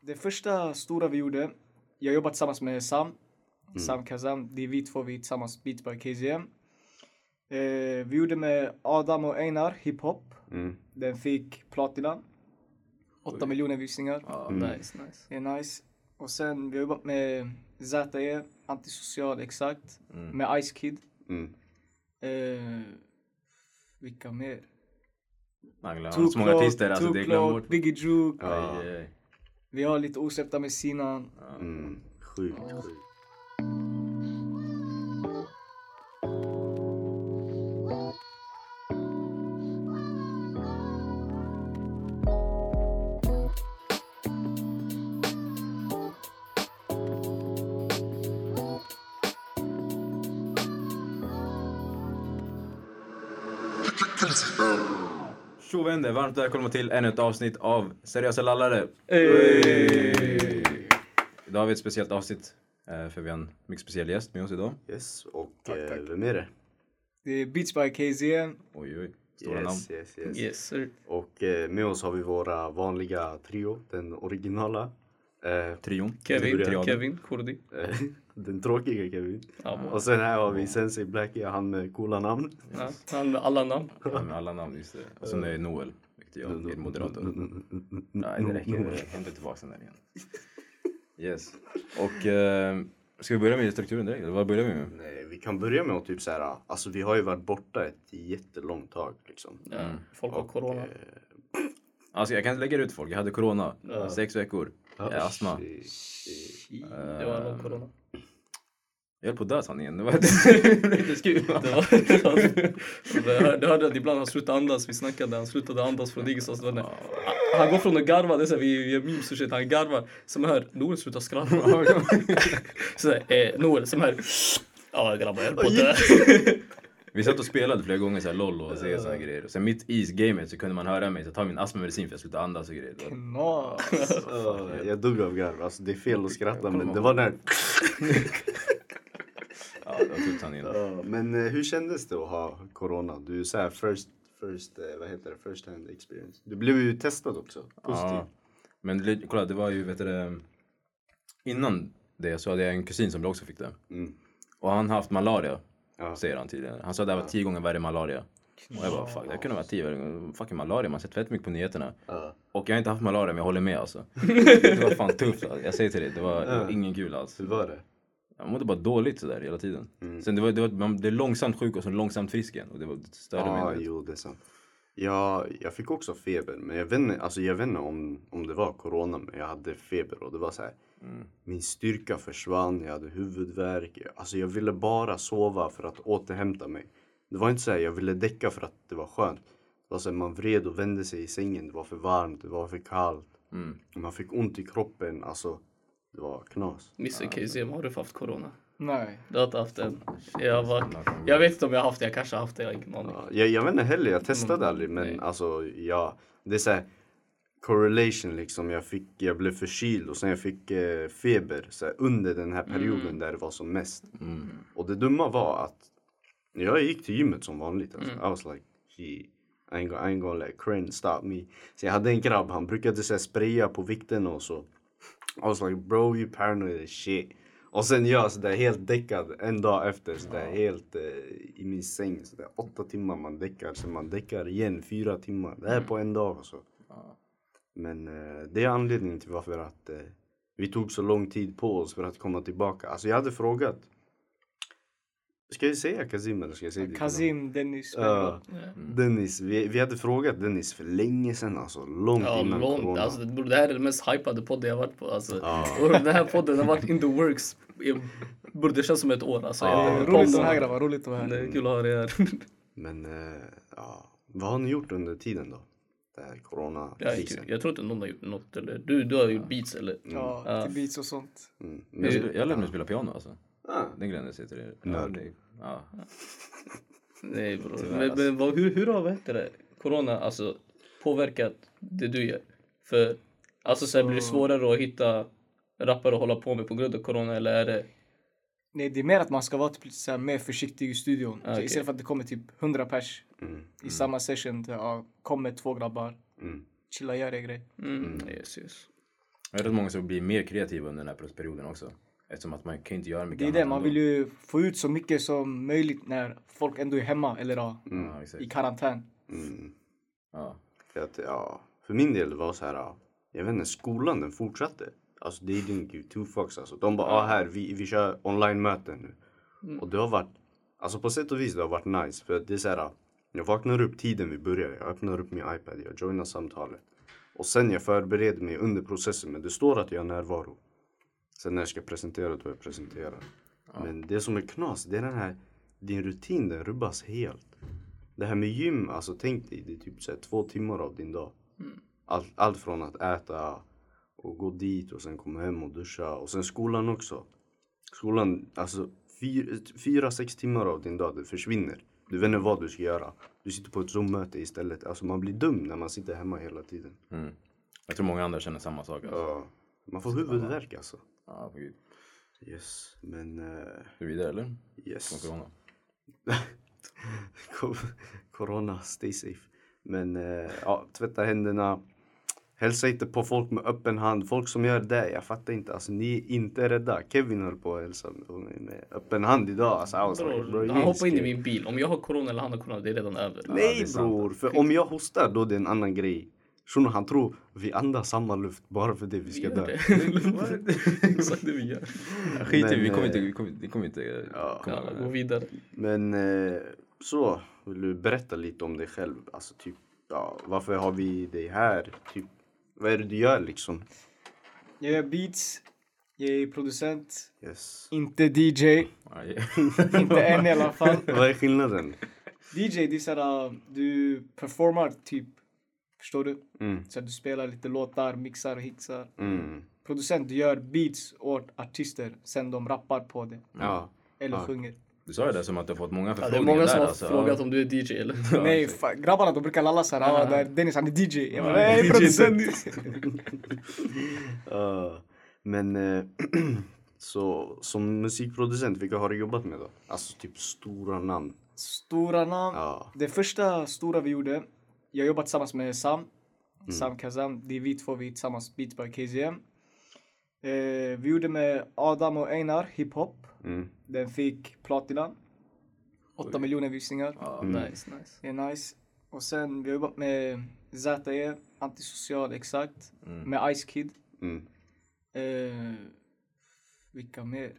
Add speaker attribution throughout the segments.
Speaker 1: Det första stora vi gjorde, jag jobbade tillsammans med Sam,
Speaker 2: Mm.
Speaker 1: Sam Kazam, det är vi två, vi är tillsammans Beats by KZM. Eh, vi gjorde med Adam och Einar, hiphop.
Speaker 3: Mm.
Speaker 1: Den fick platina. 8 miljoner visningar.
Speaker 2: Ja, nice, nice.
Speaker 1: Det är nice. Och sen, vi har jobbat med ZE, Antisocial Exakt, med Ice Kid.
Speaker 3: Mm.
Speaker 1: Eh, vilka mer?
Speaker 2: Man glömmer så många artister, alltså det glömmer
Speaker 1: Tupac,
Speaker 2: bort.
Speaker 1: Biggie Drew.
Speaker 3: Ja.
Speaker 2: Aj, aj.
Speaker 1: Vi har lite osläppta med Sinan.
Speaker 3: Mm. Sjukt, sjukt.
Speaker 2: Tjo vad händer? Varmt välkomna till ännu ett avsnitt av Seriösa lallare. Idag har vi ett speciellt avsnitt eh, för vi har en mycket speciell gäst med oss idag.
Speaker 3: Yes, och eh, vem är det?
Speaker 1: Det är Beats by KZM.
Speaker 2: Oj oj, stora namn.
Speaker 3: yes, yes, yes.
Speaker 4: Yes sir.
Speaker 3: Och eh, med oss har vi våra vanliga trio, den originala. Eh,
Speaker 2: Trion.
Speaker 4: Kevin,
Speaker 2: Triaden.
Speaker 4: Kevin, Kurdi.
Speaker 3: eh, den tråkiga Kevin.
Speaker 4: Ja, man.
Speaker 3: Och sen här har vi Sensei Blackie, han med coola namn.
Speaker 4: Ja, han med alla namn.
Speaker 2: Ja, med alla namn, just det. Och sen är det Noel, vilket jag är
Speaker 3: Mm,
Speaker 2: moderator. Nej, det räcker. Jag hämtar tillbaka den där igen. Yes. Och eh, ska vi börja med strukturen direkt? Eller vad börjar vi med?
Speaker 3: Nej, eh, vi kan börja med att typ så här, alltså vi har ju varit borta ett jättelångt tag liksom. eh,
Speaker 4: Ja, folk har
Speaker 1: eh,
Speaker 4: corona.
Speaker 2: Alltså jag kan lägga ut folk. Jag hade corona. Sex veckor. Jag har astma.
Speaker 3: Shit,
Speaker 4: Det var lång corona.
Speaker 2: Jag höll på att dö sanningen. Det var jätteskumt.
Speaker 4: Det var, det hör- du hörde att ibland han slutade andas, vi snackade, han slutade andas från ingenstans. Det var när- Han går från att garva, det är så här, vi gör memes och shit, han garvar. Som hör, Noel slutar skratta. Så där, eh, Noel som hör, ja grabbar jag höll på att dö.
Speaker 2: Vi satt och spelade flera gånger så här LOL och CS och såna grejer. Och sen mitt i gamet så kunde man höra mig så ta min astmamedicin för jag slutade andas och grejer. Det var-
Speaker 1: Nice.
Speaker 3: jag dog av garv, alltså det är fel att skratta men det var när...
Speaker 2: Ja, det var typ sanningen.
Speaker 3: Ja, Men eh, hur kändes det att ha corona? Du är så här first, first, eh, vad heter det, first hand experience. Du blev ju testad också,
Speaker 2: Ja.
Speaker 3: positivt.
Speaker 2: Men li- kolla, det var ju, vet du det, Innan det så hade jag en kusin som också fick det.
Speaker 3: Mm.
Speaker 2: Och han har haft malaria,
Speaker 3: Ja.
Speaker 2: säger han tydligen. Han sa att det här var tio gånger värre än malaria. Och jag bara, fuck, det här kunde vara tio gånger. Fucking malaria, man har sett fett mycket på nyheterna.
Speaker 3: Ja.
Speaker 2: Och jag har inte haft malaria, men jag håller med alltså. det var fan tufft. Alltså. Jag säger till dig, det var, det var ingen kul alls.
Speaker 3: Hur var det?
Speaker 2: Jag mådde bara dåligt sådär hela tiden.
Speaker 3: Mm.
Speaker 2: Sen det var, det var man blev långsamt sjuk och så långsamt frisk igen. Och det, var, det störde mig.
Speaker 3: Ja,
Speaker 2: du vet.
Speaker 3: Ah, jo det är sant. Ja, jag fick också feber, men jag vet inte, alltså jag vet inte om, om det var corona, men jag hade feber och det var så här. Min styrka försvann, jag hade huvudvärk. jag- Alltså jag ville bara sova för att återhämta mig. Det var inte så här, jag ville däcka för att det var skönt. Det var så här, man vred och vände sig i sängen, det var för varmt, det var för kallt.
Speaker 2: Mm.
Speaker 3: Man fick ont i kroppen, alltså det var knas.
Speaker 4: Mr KZM, har du haft corona?
Speaker 1: Nej.
Speaker 4: Du har inte haft en? Jag, var, jag vet inte om jag har haft det, jag kanske har haft det, jag har ingen aning.
Speaker 3: Ja, Jag, jag vet inte heller, jag testade aldrig men
Speaker 4: nej.
Speaker 3: alltså ja, det är så här correlation liksom. Jag, fick, jag blev förkyld och sen jag fick eh, feber så här, under den här perioden där det var som mest. Och det dumma var att jag gick till gymmet som vanligt. Alltså. I was like, gee, I ain't gonna, I ain't gonna let Kren stop me. Så jag hade en grabb, han brukade så här, spraya på vikten och så. I was like bro you paranoid as shit. Och sen jag sådär helt däckad en dag efter sådär helt eh, i min säng. Sådär åtta timmar man däckar, sen man däckar igen fyra timmar. Det här på en dag och så. Men eh, det är anledningen till varför att eh, vi tog så lång tid på oss för att komma tillbaka. Alltså jag hade frågat. Ska jag säga Kazim eller ska jag säga ditt namn?
Speaker 1: Kazim, Dennis,
Speaker 3: Ja.
Speaker 1: Bengal.
Speaker 3: Dennis, vi, vi hade frågat Dennis för länge sedan alltså. Långt
Speaker 4: Ja,
Speaker 3: innan
Speaker 4: långt.
Speaker 3: corona.
Speaker 4: Alltså, det, det här är den mest hypade podden jag varit på. Alltså.
Speaker 3: Ja.
Speaker 4: Och den här podden har varit in the works. i- Bror, det känns som ett år. Alltså.
Speaker 3: Ja,
Speaker 4: Jag- Mm.
Speaker 1: Roligt att vara här grabbar, roligt att vara
Speaker 4: Det
Speaker 1: här.
Speaker 4: är kul att ha er här.
Speaker 3: Men eh, ja, vad har ni gjort under tiden då? Det här
Speaker 4: Ja, det är kul.
Speaker 3: coronakrisen.
Speaker 4: jag tror inte någon har gjort något. Eller? Du, du har gjort beats eller?
Speaker 1: Ja, lite beats och sånt.
Speaker 3: Mm.
Speaker 2: Jag,
Speaker 3: Men-
Speaker 2: jag lärde mig spela piano alltså.
Speaker 3: Ah.
Speaker 2: Den grejen jag säger till dig. Ja, det, ja.
Speaker 4: Nej bror. Men,
Speaker 3: alltså.
Speaker 4: men vad, hur, hur har vad heter det? corona alltså, påverkat det du gör? För alltså, så här, blir
Speaker 3: Mm.
Speaker 4: det svårare att hitta rappare att hålla på med på grund av corona eller är det?
Speaker 1: Nej, det är mer att man ska vara typ lite så här, mer försiktig i studion. Så
Speaker 4: okej.
Speaker 1: istället för att det kommer typ 100 pers i samma session. där, Ja, kommer två grabbar.
Speaker 3: Mm, Mm.
Speaker 1: Chilla, gör er grej.
Speaker 4: Mm. Yes, yes.
Speaker 2: Jag vet att många som blir mer kreativa under den här perioden också. Eftersom att man kan ju inte göra mycket
Speaker 1: Det är
Speaker 2: annat
Speaker 1: det, man
Speaker 2: ändå.
Speaker 1: vill ju få ut så mycket som möjligt när folk ändå är hemma eller ja,
Speaker 2: Ja, exakt.
Speaker 4: Mm.
Speaker 1: i karantän.
Speaker 3: Mm.
Speaker 2: Ja.
Speaker 3: För, att, ja, för min del var det så här, ja, jag vet inte, skolan den fortsatte. Alltså they didn't give two fucks alltså. De bara, ah, här, vi, vi kör online-möten nu. Och det har varit, alltså på sätt och vis det har varit nice. För att det är så här, ja, jag vaknar upp tiden vi börjar, jag öppnar upp min iPad, jag joinar samtalet. Och sen jag förbereder mig under processen, men det står att jag är närvaro. Sen när jag ska presentera, då jag presenterar. Men det som är knas, det är den här, din rutin den rubbas helt. Det här med gym, alltså tänk dig, det är typ så här två timmar av din dag. Allt, allt från att äta och gå dit och sen komma hem och duscha och sen skolan också. Skolan, alltså fyra, fyra sex timmar av din dag, det försvinner. Du vet inte vad du ska göra. Du sitter på ett Zoom-möte istället. Alltså man blir dum när man sitter hemma hela tiden.
Speaker 2: Mm. Jag tror många andra känner samma sak. Alltså.
Speaker 3: Ja. Man får huvudvärk alltså.
Speaker 2: Ja, för gud.
Speaker 3: Yes, men eh,
Speaker 2: Ska vi vidare eller? Från
Speaker 3: yes.
Speaker 2: corona.
Speaker 3: Ko- Corona, stay safe. Men eh, ja, tvätta händerna. Hälsa inte på folk med öppen hand. Folk som gör det, jag fattar inte. Alltså ni är inte rädda. Kevin höll på att hälsa med, med öppen hand idag. Alltså, I was like, bro,
Speaker 4: Bror,
Speaker 3: you
Speaker 4: han
Speaker 3: ain't
Speaker 4: hoppar in i
Speaker 3: scared.
Speaker 4: min bil. Om jag har corona eller han har corona, det är redan över.
Speaker 3: Nej
Speaker 2: det är sant.
Speaker 3: bror, för om jag hostar då är det en annan grej. Shunon han tror vi andas samma luft bara för det vi
Speaker 4: Vi
Speaker 3: ska
Speaker 4: gör
Speaker 3: dö.
Speaker 4: det. Exakt det vi gör.
Speaker 2: Skit i, vi
Speaker 3: Men,
Speaker 2: kommer inte,
Speaker 3: eh,
Speaker 2: vi kommer, vi kommer inte eh,
Speaker 3: ja.
Speaker 2: komma
Speaker 4: Ja,
Speaker 2: över
Speaker 4: gå
Speaker 2: det.
Speaker 4: vidare.
Speaker 3: Men eh, så, vill du berätta lite om dig själv? Alltså typ, ja, varför har vi dig här? Typ, vad är det du gör liksom?
Speaker 1: Jag gör beats, jag är producent,
Speaker 3: Yes.
Speaker 1: inte DJ,
Speaker 2: Aj.
Speaker 1: inte än i alla fall.
Speaker 3: Vad är skillnaden?
Speaker 1: DJ, det är såhär, du performar typ, förstår du?
Speaker 3: Mm.
Speaker 1: Så du spelar lite låtar, mixar, hixar.
Speaker 3: Mm.
Speaker 1: Producent, du gör beats åt artister, sen de rappar på det.
Speaker 3: Ja.
Speaker 1: Eller
Speaker 3: Ja.
Speaker 1: sjunger.
Speaker 2: Du sa ju det som att du har fått många
Speaker 4: Ja, det
Speaker 2: förfrågningar
Speaker 4: är många
Speaker 2: där.
Speaker 4: som har
Speaker 2: alltså.
Speaker 4: frågat om du är DJ eller?
Speaker 1: Nej, fa- grabbarna de brukar lalla såhär, ah, där, Dennis han är DJ. Jag bara,
Speaker 2: Ja,
Speaker 1: nej
Speaker 4: DJ.
Speaker 1: producent.
Speaker 3: Ja. men eh, så som musikproducent, vilka har du jobbat med då? Alltså typ stora namn.
Speaker 1: Stora namn.
Speaker 3: Ja.
Speaker 1: Det första stora vi gjorde, jag jobbade tillsammans med Sam. Sam Kazam, det är vi två, vi är tillsammans Beats by KZM. Eh, vi gjorde med Adam och Einar, hiphop.
Speaker 3: Mm.
Speaker 1: Den fick platina. 8 miljoner visningar.
Speaker 4: Ja, nice, nice.
Speaker 1: Det är nice. Och sen vi har jobbat med ZE, Antisocial Exakt,
Speaker 2: Mm.
Speaker 1: med Ice Kid.
Speaker 3: Mm.
Speaker 1: Eh, vilka mer?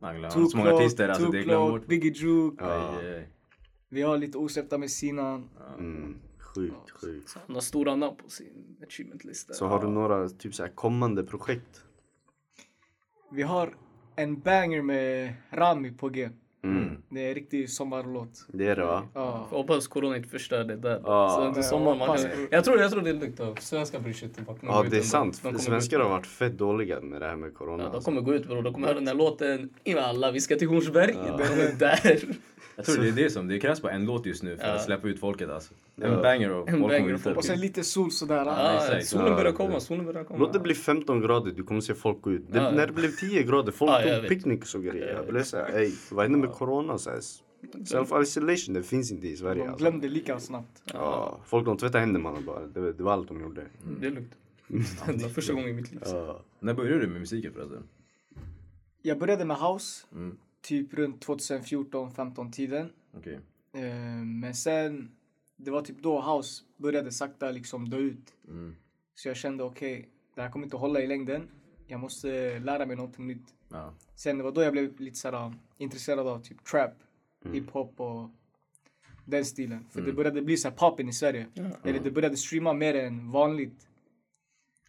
Speaker 2: Nej, glöm- Så många artister, alltså det glömmer
Speaker 1: Tupac,
Speaker 2: bort.
Speaker 1: Biggie Juke.
Speaker 3: Ja.
Speaker 2: Aj, aj.
Speaker 1: Vi har lite osläppta med Sinan.
Speaker 3: Mm. Sjukt, sjukt.
Speaker 4: Så han har stora namn på sin achievementlista.
Speaker 3: Så har du några typ så här kommande projekt?
Speaker 1: Vi har en banger med Rami på G.
Speaker 3: Mm.
Speaker 1: Det är en riktig sommarlåt.
Speaker 3: Det är det va?
Speaker 1: Ja.
Speaker 4: Jag hoppas corona inte förstör det där.
Speaker 3: Ja.
Speaker 4: så under
Speaker 1: Nej,
Speaker 4: sommaren man
Speaker 1: hoppas
Speaker 4: kan...
Speaker 1: det.
Speaker 4: jag, tror, jag tror det är lugnt. då. Svenskar bryr sig inte. bara kommer
Speaker 3: Ja
Speaker 4: gå ut
Speaker 3: det är
Speaker 4: ändå.
Speaker 3: sant.
Speaker 4: De kommer gå
Speaker 3: Svenskar
Speaker 4: ut.
Speaker 3: har varit fett dåliga med det här med corona.
Speaker 4: Ja, de
Speaker 3: alltså.
Speaker 4: kommer gå ut bror. De kommer höra den här låten. Innan alla, vi ska till Hornsberg. De är där.
Speaker 2: Jag tror det
Speaker 1: Alltså-
Speaker 2: är det som, det krävs bara en låt just nu för
Speaker 4: Ja.
Speaker 2: att släppa ut folket alltså. En
Speaker 3: Ja.
Speaker 2: banger och
Speaker 4: En
Speaker 2: folk
Speaker 4: banger
Speaker 2: kommer
Speaker 4: och
Speaker 2: ut.
Speaker 4: folk-
Speaker 1: Och sen
Speaker 2: där.
Speaker 1: lite sol sådär.
Speaker 4: Ja,
Speaker 2: exakt.
Speaker 4: solen börjar
Speaker 3: Ja,
Speaker 4: komma,
Speaker 3: det-
Speaker 4: solen börjar komma.
Speaker 3: Låt det bli 15 grader, du kommer se folk gå ut. Det,
Speaker 4: Ja, ja.
Speaker 3: När det blev 10 grader, folk
Speaker 4: Ja, jag
Speaker 3: tog
Speaker 4: vet.
Speaker 3: picknicks och grejer. Jag blev såhär, ey vad händer med corona? Så här, self-isolation, det finns inte i Sverige.
Speaker 1: De
Speaker 3: Alltså.
Speaker 1: glömde lika snabbt.
Speaker 3: Ja, folk de tvättade händerna bara, det, det var allt de gjorde.
Speaker 4: Mm, Det är lugnt. Det var första gången i mitt liv.
Speaker 3: Ja.
Speaker 2: När började du med musiken förresten?
Speaker 1: Jag började med house.
Speaker 2: Mm.
Speaker 1: Typ runt 2014-15 tiden.
Speaker 2: Okej.
Speaker 1: Eh, Men sen, det var typ då house började sakta liksom dö ut.
Speaker 2: Mm.
Speaker 1: Så jag kände okej, det här kommer inte hålla i längden. Jag måste lära mig någonting nytt.
Speaker 2: Ja.
Speaker 1: Sen det var då jag blev lite såhär intresserad av typ trap,
Speaker 2: Mm.
Speaker 1: hiphop och den stilen. För det började bli såhär poppen i Sverige. Eller det började streama mer än vanligt.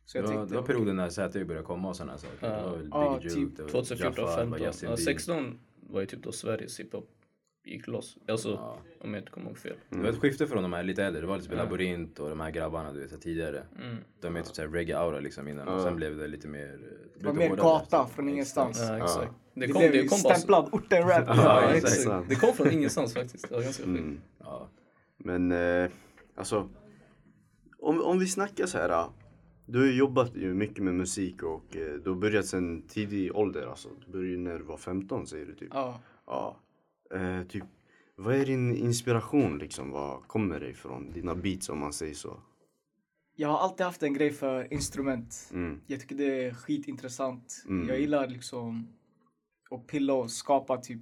Speaker 1: Så
Speaker 2: Det
Speaker 1: jag
Speaker 2: var,
Speaker 1: tänkte,
Speaker 2: det var perioden när ZE började komma och sådana saker. Det var väl
Speaker 1: Ja,
Speaker 2: Biggie
Speaker 1: typ
Speaker 2: Juke, det var Jaffa, det var
Speaker 4: 2014,
Speaker 2: Justin
Speaker 4: 15. Ja,
Speaker 2: Bieber.
Speaker 4: 16 var ju typ då Sveriges hiphop gick loss. Alltså,
Speaker 2: Ja.
Speaker 4: om jag inte kommer ihåg fel.
Speaker 2: Det
Speaker 1: Mm.
Speaker 2: var ett skifte från de här lite äldre, det var liksom Labyrint och de här grabbarna du vet så här tidigare.
Speaker 4: Mm.
Speaker 2: De var mer typ såhär reggae-aura liksom innan och sen blev det lite alltså. mer...
Speaker 1: det var mer gata från ingenstans.
Speaker 4: Ja, exakt. Det
Speaker 1: Det
Speaker 4: kom,
Speaker 1: blev
Speaker 4: det kom bara...
Speaker 1: stämplad orten-rap.
Speaker 4: Ja,
Speaker 2: Ja,
Speaker 4: exakt. Mm.
Speaker 3: exakt.
Speaker 4: Det kom från ingenstans faktiskt. Det var ganska sjukt.
Speaker 2: Ja.
Speaker 3: Men eh, alltså, om, om vi snackar så här. ah, Du har ju jobbat ju mycket med musik och eh, du har börjat sen tidig ålder. Alltså. Du började ju när du var 15 säger du typ.
Speaker 1: Ja.
Speaker 3: Ja. Eh, typ, vad är din inspiration liksom? Vad kommer det ifrån? Dina beats om man säger så.
Speaker 1: Jag har alltid haft en grej för instrument.
Speaker 3: Mm.
Speaker 1: Jag tycker det är skitintressant.
Speaker 3: Mm.
Speaker 1: Jag gillar liksom att pilla och skapa typ.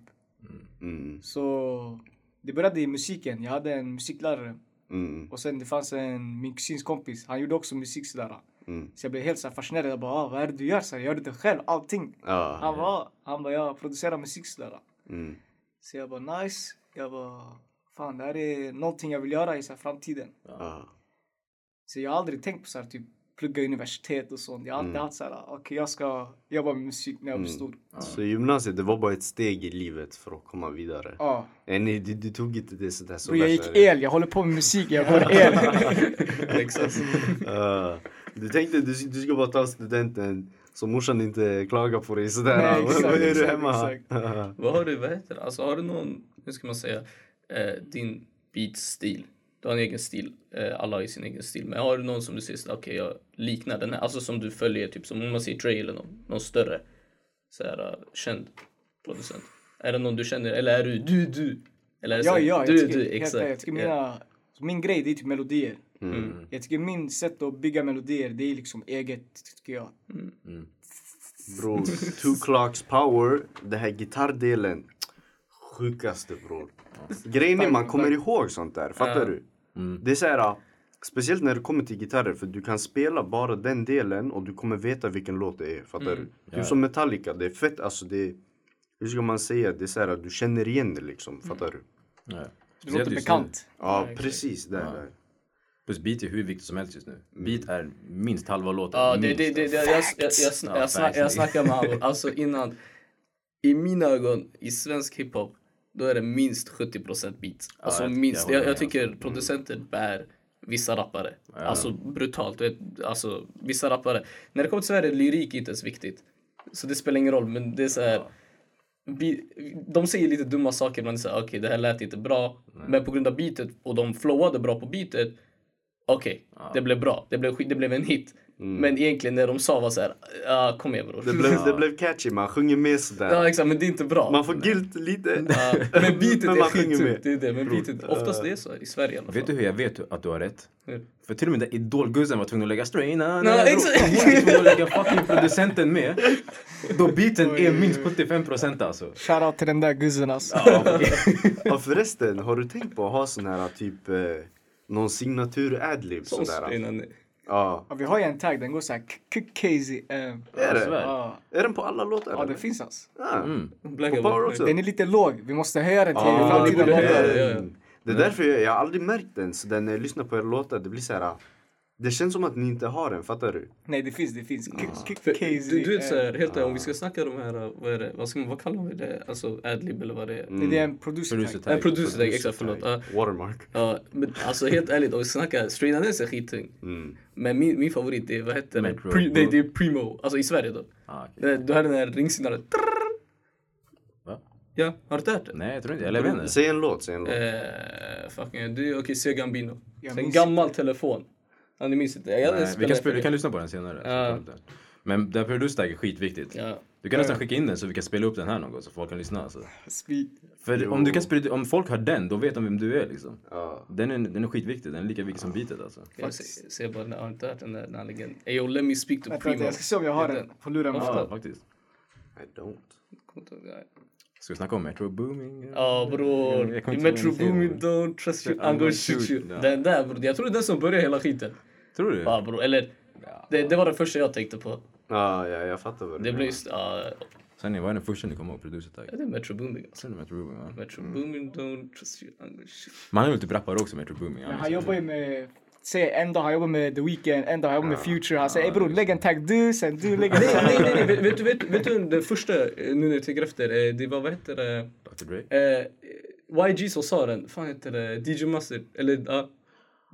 Speaker 3: Mm.
Speaker 1: Så det började i musiken. Jag hade en musiklärare
Speaker 3: Mm.
Speaker 1: och sen det fanns en, min kusins kompis. Han gjorde också musik sådär.
Speaker 3: Mm.
Speaker 1: Så jag blev helt så här fascinerad. Jag bara, ah, vad är det du gör? Så här, gör du det själv? Allting.
Speaker 3: Ja.
Speaker 1: Han bara, "Ah." han bara, jag producerar musik sådär.
Speaker 3: Mm.
Speaker 1: Så jag bara, nice. Jag bara, fan det här är någonting jag vill göra i så här, framtiden.
Speaker 3: Ja.
Speaker 1: Så jag har aldrig tänkt på så här, typ plugga universitet och sånt. Jag har alltid
Speaker 3: Mm.
Speaker 1: haft så här, "Ah, okej jag ska jobba med musik när jag
Speaker 3: Mm.
Speaker 1: blir stor.
Speaker 3: Så gymnasiet, det var bara ett steg i livet för att komma vidare.
Speaker 1: Ja.
Speaker 3: Nej, nej, du, du tog inte det sådär så
Speaker 1: Bro, jag
Speaker 3: värst
Speaker 1: gick
Speaker 3: seriöst.
Speaker 1: el, jag håller på med musik, jag går el.
Speaker 4: Exakt.
Speaker 1: liksom.
Speaker 3: Ja. Du tänkte du, du ska bara ta studenten så morsan inte klagar på dig sådär.
Speaker 1: Nej,
Speaker 3: Vad-
Speaker 1: exakt,
Speaker 3: Vad är du
Speaker 1: exakt,
Speaker 3: hemma?
Speaker 1: exakt.
Speaker 4: Vad har du, vad heter det? Alltså har du någon, hur ska man säga, eh, din beatstil? Du har en egen stil, eh, alla har ju sin egen stil, men har du någon som du ser sådär, okej jag liknar den här, alltså som du följer, typ som om man säger Dre eller någon, någon större såhär eh, känd producent? Är det någon du känner, eller är du du, du? Eller är det
Speaker 1: Ja, ja,
Speaker 4: såhär,
Speaker 1: jag
Speaker 4: du,
Speaker 1: tycker,
Speaker 4: du,
Speaker 1: helt ärligt, jag
Speaker 4: exakt.
Speaker 1: tycker
Speaker 4: ja.
Speaker 1: mina, min grej det är typ melodier.
Speaker 4: Mm.
Speaker 1: Jag tycker min sätt att bygga melodier det är liksom eget, tycker jag.
Speaker 3: Bror, two clocks power, den här gitarrdelen. Sjukaste bror. Grejen är man kommer ihåg sånt där, fattar du?
Speaker 2: Mm,
Speaker 3: Det är så här, äh, speciellt när det kommer till gitarrer för du kan spela bara den delen och du kommer veta vilken låt det är,
Speaker 4: Mm.
Speaker 3: fattar du? Typ som Metallica, det är fett alltså det är, hur ska man säga, det är så här, äh, du känner igen det liksom, fattar du?
Speaker 2: Ja.
Speaker 1: Det
Speaker 2: Speciellt
Speaker 1: låter
Speaker 2: just nu.
Speaker 1: bekant.
Speaker 3: Ja,
Speaker 4: Mm. exakt.
Speaker 3: precis där.
Speaker 2: Ja.
Speaker 3: där.
Speaker 2: Plus beat är hur viktigt som helst just nu.
Speaker 1: Mm.
Speaker 2: Beat är minst halva låten.
Speaker 4: Ja, det,
Speaker 2: minst,
Speaker 4: det, det, det, jag, jag, jag, jag, sna- jag, sna- jag snackar med honom, alltså innan, i mina ögon, i svensk hiphop, då är det minst 70% beats. Alltså
Speaker 2: jag- jag
Speaker 4: minst,
Speaker 2: håller
Speaker 4: jag, jag
Speaker 2: med. alltså. Mm.
Speaker 4: tycker producenter bär vissa rappare. Alltså brutalt, du vet, alltså vissa rappare. När det kommer till Sverige är lyrik inte ens viktigt. Så det spelar ingen roll, men det är så här. Bi- de säger lite dumma saker, man säger okej det här lät inte bra. Men på grund av beatet och de flowade bra på beatet, okej det blev bra, det blev, skit- det blev en hit. Men egentligen när de sa var så här, ah, kom igen bror.
Speaker 3: Mm. Det, blev, det blev catchy, man sjunger med sådär.
Speaker 4: Ja exakt, men det är inte bra.
Speaker 3: Man får guilt lite.
Speaker 4: Ja, men beatet
Speaker 3: Men
Speaker 4: är
Speaker 3: man sjunger med. eh,
Speaker 4: skittungt, det är det. Men beatet, oftast det är så i Sverige i alla fall.
Speaker 2: Vet du hur jag vet hur- att du har rätt?
Speaker 4: Hur?
Speaker 2: För till och med den där idolguzzen var tvungen att lägga strain na,
Speaker 4: Nej,
Speaker 2: na,
Speaker 4: exakt.
Speaker 2: Hon var tvungen att lägga fucking producenten med. Då beaten är minst 75% alltså.
Speaker 1: Shoutout till den där guzzen alltså.
Speaker 3: Ja förresten, har du tänkt på att ha sån här typ eh, någon signatur adlib
Speaker 4: Som
Speaker 3: sådär?
Speaker 4: innan-
Speaker 3: Ja.
Speaker 1: Ja, vi har ju en tagg, den går såhär KKZ.
Speaker 3: Är det?
Speaker 2: Svär.
Speaker 1: eh. Ja,
Speaker 3: Är den på alla låtar?
Speaker 1: ja
Speaker 3: eller?
Speaker 1: den finns alltså.
Speaker 3: Ah.
Speaker 4: Black
Speaker 3: På
Speaker 4: and
Speaker 3: Power
Speaker 4: white.
Speaker 3: också?
Speaker 1: Den är lite låg, vi måste höja den till
Speaker 3: Ah,
Speaker 1: framtida
Speaker 3: det är
Speaker 1: låtar.
Speaker 4: ja, ja.
Speaker 3: den. Mm. Det är därför jag, jag har aldrig märkt den, så den, när jag lyssnar på er låtar, det blir så här. ah, Det känns som att ni inte har den, fattar du?
Speaker 1: Nej det finns, det finns. K-
Speaker 4: För,
Speaker 1: KKZ.
Speaker 4: du, du vet
Speaker 1: eh,
Speaker 4: såhär, helt ärligt, om vi
Speaker 3: Ah.
Speaker 4: ska snacka de här, uh, vad är det, vad, ska, man- vad kallar vi det, alltså adlib eller vad det är?
Speaker 3: Mm,
Speaker 1: nej, eh, Det är en producer
Speaker 2: Producer
Speaker 1: tagg.
Speaker 2: tag.
Speaker 4: Nej, producer tag,
Speaker 2: Producer
Speaker 4: exakt, förlåt.
Speaker 2: tag.
Speaker 4: Ja,
Speaker 3: Watermark.
Speaker 4: ja, men alltså helt ärligt, om vi snackar, Straight Nines är skittung.
Speaker 3: Mm.
Speaker 4: Men min, min favorit, det är, vad heter det?
Speaker 2: Metro.
Speaker 4: Pri, nej, det är Primo, alltså i Sverige då.
Speaker 2: Ah, okej.
Speaker 4: Det- Du hör den här ringsignalen, Trrrr.
Speaker 2: Va?
Speaker 4: Ja, har du inte hört den?
Speaker 2: Nej, jag tror inte. Eller jag vet inte.
Speaker 3: Säg en låt, säg en låt.
Speaker 4: Eh, fucking, du, okej, Seo Gambino.
Speaker 1: Jag
Speaker 4: en
Speaker 1: minns
Speaker 4: gammal telefon. Ja, ni minns inte? Jag hade
Speaker 2: Nej, vi, kan
Speaker 4: spelat
Speaker 2: spela,
Speaker 4: för
Speaker 2: vi kan
Speaker 4: er.
Speaker 2: lyssna på den senare.
Speaker 4: Ja.
Speaker 2: så ta upp den. Men det här producer tag är skitviktigt.
Speaker 4: Ja.
Speaker 2: Du kan nästan skicka in den så vi kan spela upp den här någon gång så folk kan lyssna. Alltså.
Speaker 1: Speed.
Speaker 2: För
Speaker 3: Jo.
Speaker 2: om, du kan sprida, om folk hör den, då vet de vem du är liksom.
Speaker 3: Ja.
Speaker 2: Den är, den är skitviktig, den är lika viktig som beatet alltså.
Speaker 4: Jag ser, ser bara, har du inte hört den där, den här legenden? Yo, let me speak to
Speaker 1: Vänta,
Speaker 4: Primo.
Speaker 1: vänta, jag ska se om jag har
Speaker 4: Heter
Speaker 1: den på luren.
Speaker 4: Ja.
Speaker 2: Ja, faktiskt.
Speaker 3: I don't.
Speaker 4: Kommer inte ihåg, nej.
Speaker 2: Ska vi snacka om Metro Booming?
Speaker 4: Ja bror,
Speaker 2: Jag kommer inte
Speaker 4: Metro
Speaker 2: ihåg vad den
Speaker 4: Boomin
Speaker 2: heter.
Speaker 4: don't trust you,
Speaker 2: I'm
Speaker 4: I'm gonna
Speaker 2: gonna
Speaker 4: shoot
Speaker 2: shoot
Speaker 4: you.
Speaker 2: you. Ja.
Speaker 4: Den där bror, jag tror det är den som börjar hela skiten.
Speaker 2: Tror du?
Speaker 4: Ja bror, eller det, det var det första jag tänkte på.
Speaker 3: Ja, ja, jag fattar vad du
Speaker 4: Det
Speaker 3: menar.
Speaker 4: blev just, ja,
Speaker 2: Sen vad är den första ni kommer ihåg? Producer tag?
Speaker 4: ja, det är Metro Boomin. Alltså.
Speaker 2: Sen är det Metro Booming va?
Speaker 4: Metro Boomin don't trust you, I'm gonna shoot you.
Speaker 2: Man är väl typ rappare också Metro liksom. Booming?
Speaker 1: Men han jobbar ju med, säg en dag han jobbar med The Weeknd, en dag han jobbar med Future. Han säger ey bror lägg en tagg du, sen du lägger en
Speaker 4: Nej,
Speaker 1: tagg.
Speaker 4: nej, nej, vet, vet, du- vet, vet du den första, eh, nu när jag tänker efter, eh, det var vad heter det?
Speaker 2: Dr Dre?
Speaker 4: Eh, YG som sa den, fan heter det, DJ Mustard, eller ja.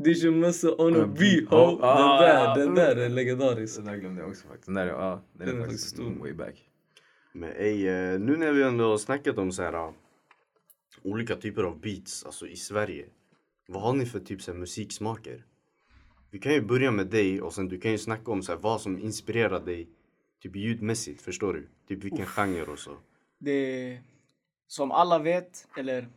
Speaker 4: DJ Mustard on a beat ho. Den
Speaker 2: ah,
Speaker 4: där,
Speaker 2: ah,
Speaker 4: den där är legendarisk.
Speaker 2: Den där glömde jag också faktiskt. Den där, ja. Den
Speaker 4: Den är
Speaker 2: är
Speaker 4: faktiskt
Speaker 2: faktiskt
Speaker 4: stor.
Speaker 2: mm, way back.
Speaker 3: Men ey, eh, nu när vi ändå har snackat om så här ah, olika typer av beats, alltså i Sverige. Vad har ni för typ så här, musiksmaker? Vi kan ju börja med dig och sen du kan ju snacka om så här, vad som inspirerar dig typ ljudmässigt, förstår du? Typ vilken genre och så.
Speaker 1: Det, som alla vet, eller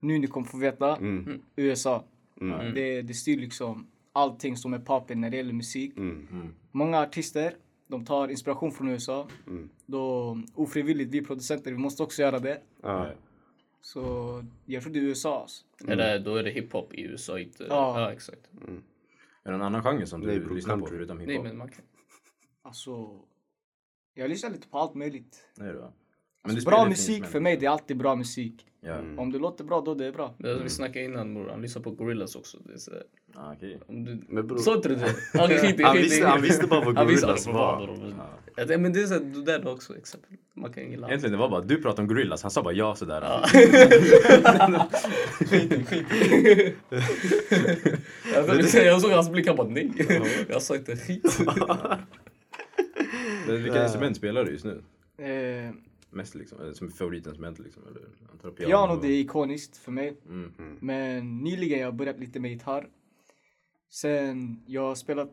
Speaker 1: nu ni kommer få veta,
Speaker 3: Mm.
Speaker 1: USA.
Speaker 3: Mm.
Speaker 1: Det, det styr liksom allting som är poppin när det gäller musik.
Speaker 3: Mm.
Speaker 1: Många artister, de tar inspiration från USA. Då ofrivilligt, vi producenter, vi måste också göra det.
Speaker 3: Ja.
Speaker 1: Så jag tror det är USA. alltså.
Speaker 4: Eller då är det hiphop i USA, inte...
Speaker 1: Ja.
Speaker 4: Ja, exakt.
Speaker 5: Är det någon annan genre som du
Speaker 3: Nej, bro,
Speaker 5: lyssnar på
Speaker 3: country.
Speaker 5: förutom
Speaker 4: Nej,
Speaker 5: hiphop?
Speaker 4: men man kan...
Speaker 1: Alltså, jag lyssnar lite på allt möjligt.
Speaker 5: Nej, då. Men du
Speaker 1: Alltså,
Speaker 5: spelar
Speaker 1: bra
Speaker 5: ju
Speaker 1: musik
Speaker 5: finns,
Speaker 1: för Mm. mig, det är alltid bra musik.
Speaker 5: men- Ja,
Speaker 3: Mm.
Speaker 1: Om det låter bra, då det är bra.
Speaker 4: Det är som vi snackade innan bror, han lyssnar på Gorillaz också. Det är så här,
Speaker 5: ah, okej.
Speaker 4: om du...
Speaker 3: Men bror,
Speaker 4: Sa inte du det? Ja, det är skit i-
Speaker 3: han,
Speaker 4: skit i-
Speaker 3: visste, han visste bara vad
Speaker 4: Han visste
Speaker 3: Gorillaz
Speaker 4: vad det var,
Speaker 3: var.
Speaker 4: bror. Ja, det- Men det är så här, det där också exempel. Man kan gilla allt.
Speaker 5: Egentligen det var bara du pratade om gorillas, han sa bara ja sådär.
Speaker 4: Jag- Jag såg hans blick, han bara nej. Jag sa inte skit.
Speaker 5: Men Vilka instrument spelar du just nu?
Speaker 1: Eh,
Speaker 5: Mest liksom, eller som favoritinstrument liksom? Eller, jag antar
Speaker 1: piano, det är ikoniskt för mig.
Speaker 5: Mm.
Speaker 3: Mhm.
Speaker 1: Men nyligen har jag börjat lite med gitarr. Sen jag har spelat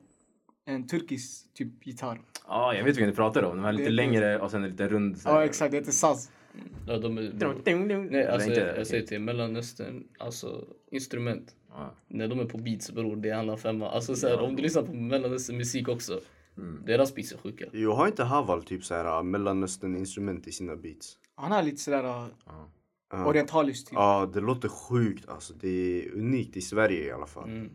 Speaker 1: en turkisk typ gitarr.
Speaker 5: Ja, jag vet vilken du pratar om. De här lite
Speaker 1: Det-
Speaker 5: längre och sen en lite rund. så här-
Speaker 1: Ja exakt, det heter saz.
Speaker 4: Ja, de är... Nej,
Speaker 5: Eller
Speaker 4: alltså,
Speaker 5: inte,
Speaker 4: jag,
Speaker 5: okej.
Speaker 4: jag säger till Mellanöstern, alltså instrument.
Speaker 5: Ja.
Speaker 4: När de är på beats bror, det är en annan femma. Alltså så här, om du lyssnar på Mellanöstern musik också.
Speaker 5: Mm,
Speaker 4: Deras beats är sjuka.
Speaker 3: Jag har inte Haval typ så här mellanöstern instrument i sina beats.
Speaker 1: Han har lite sådär uh,
Speaker 3: Ja.
Speaker 1: orientaliskt typ.
Speaker 3: Ja, det låter sjukt alltså. Det är unikt i Sverige i alla fall.
Speaker 4: Mm.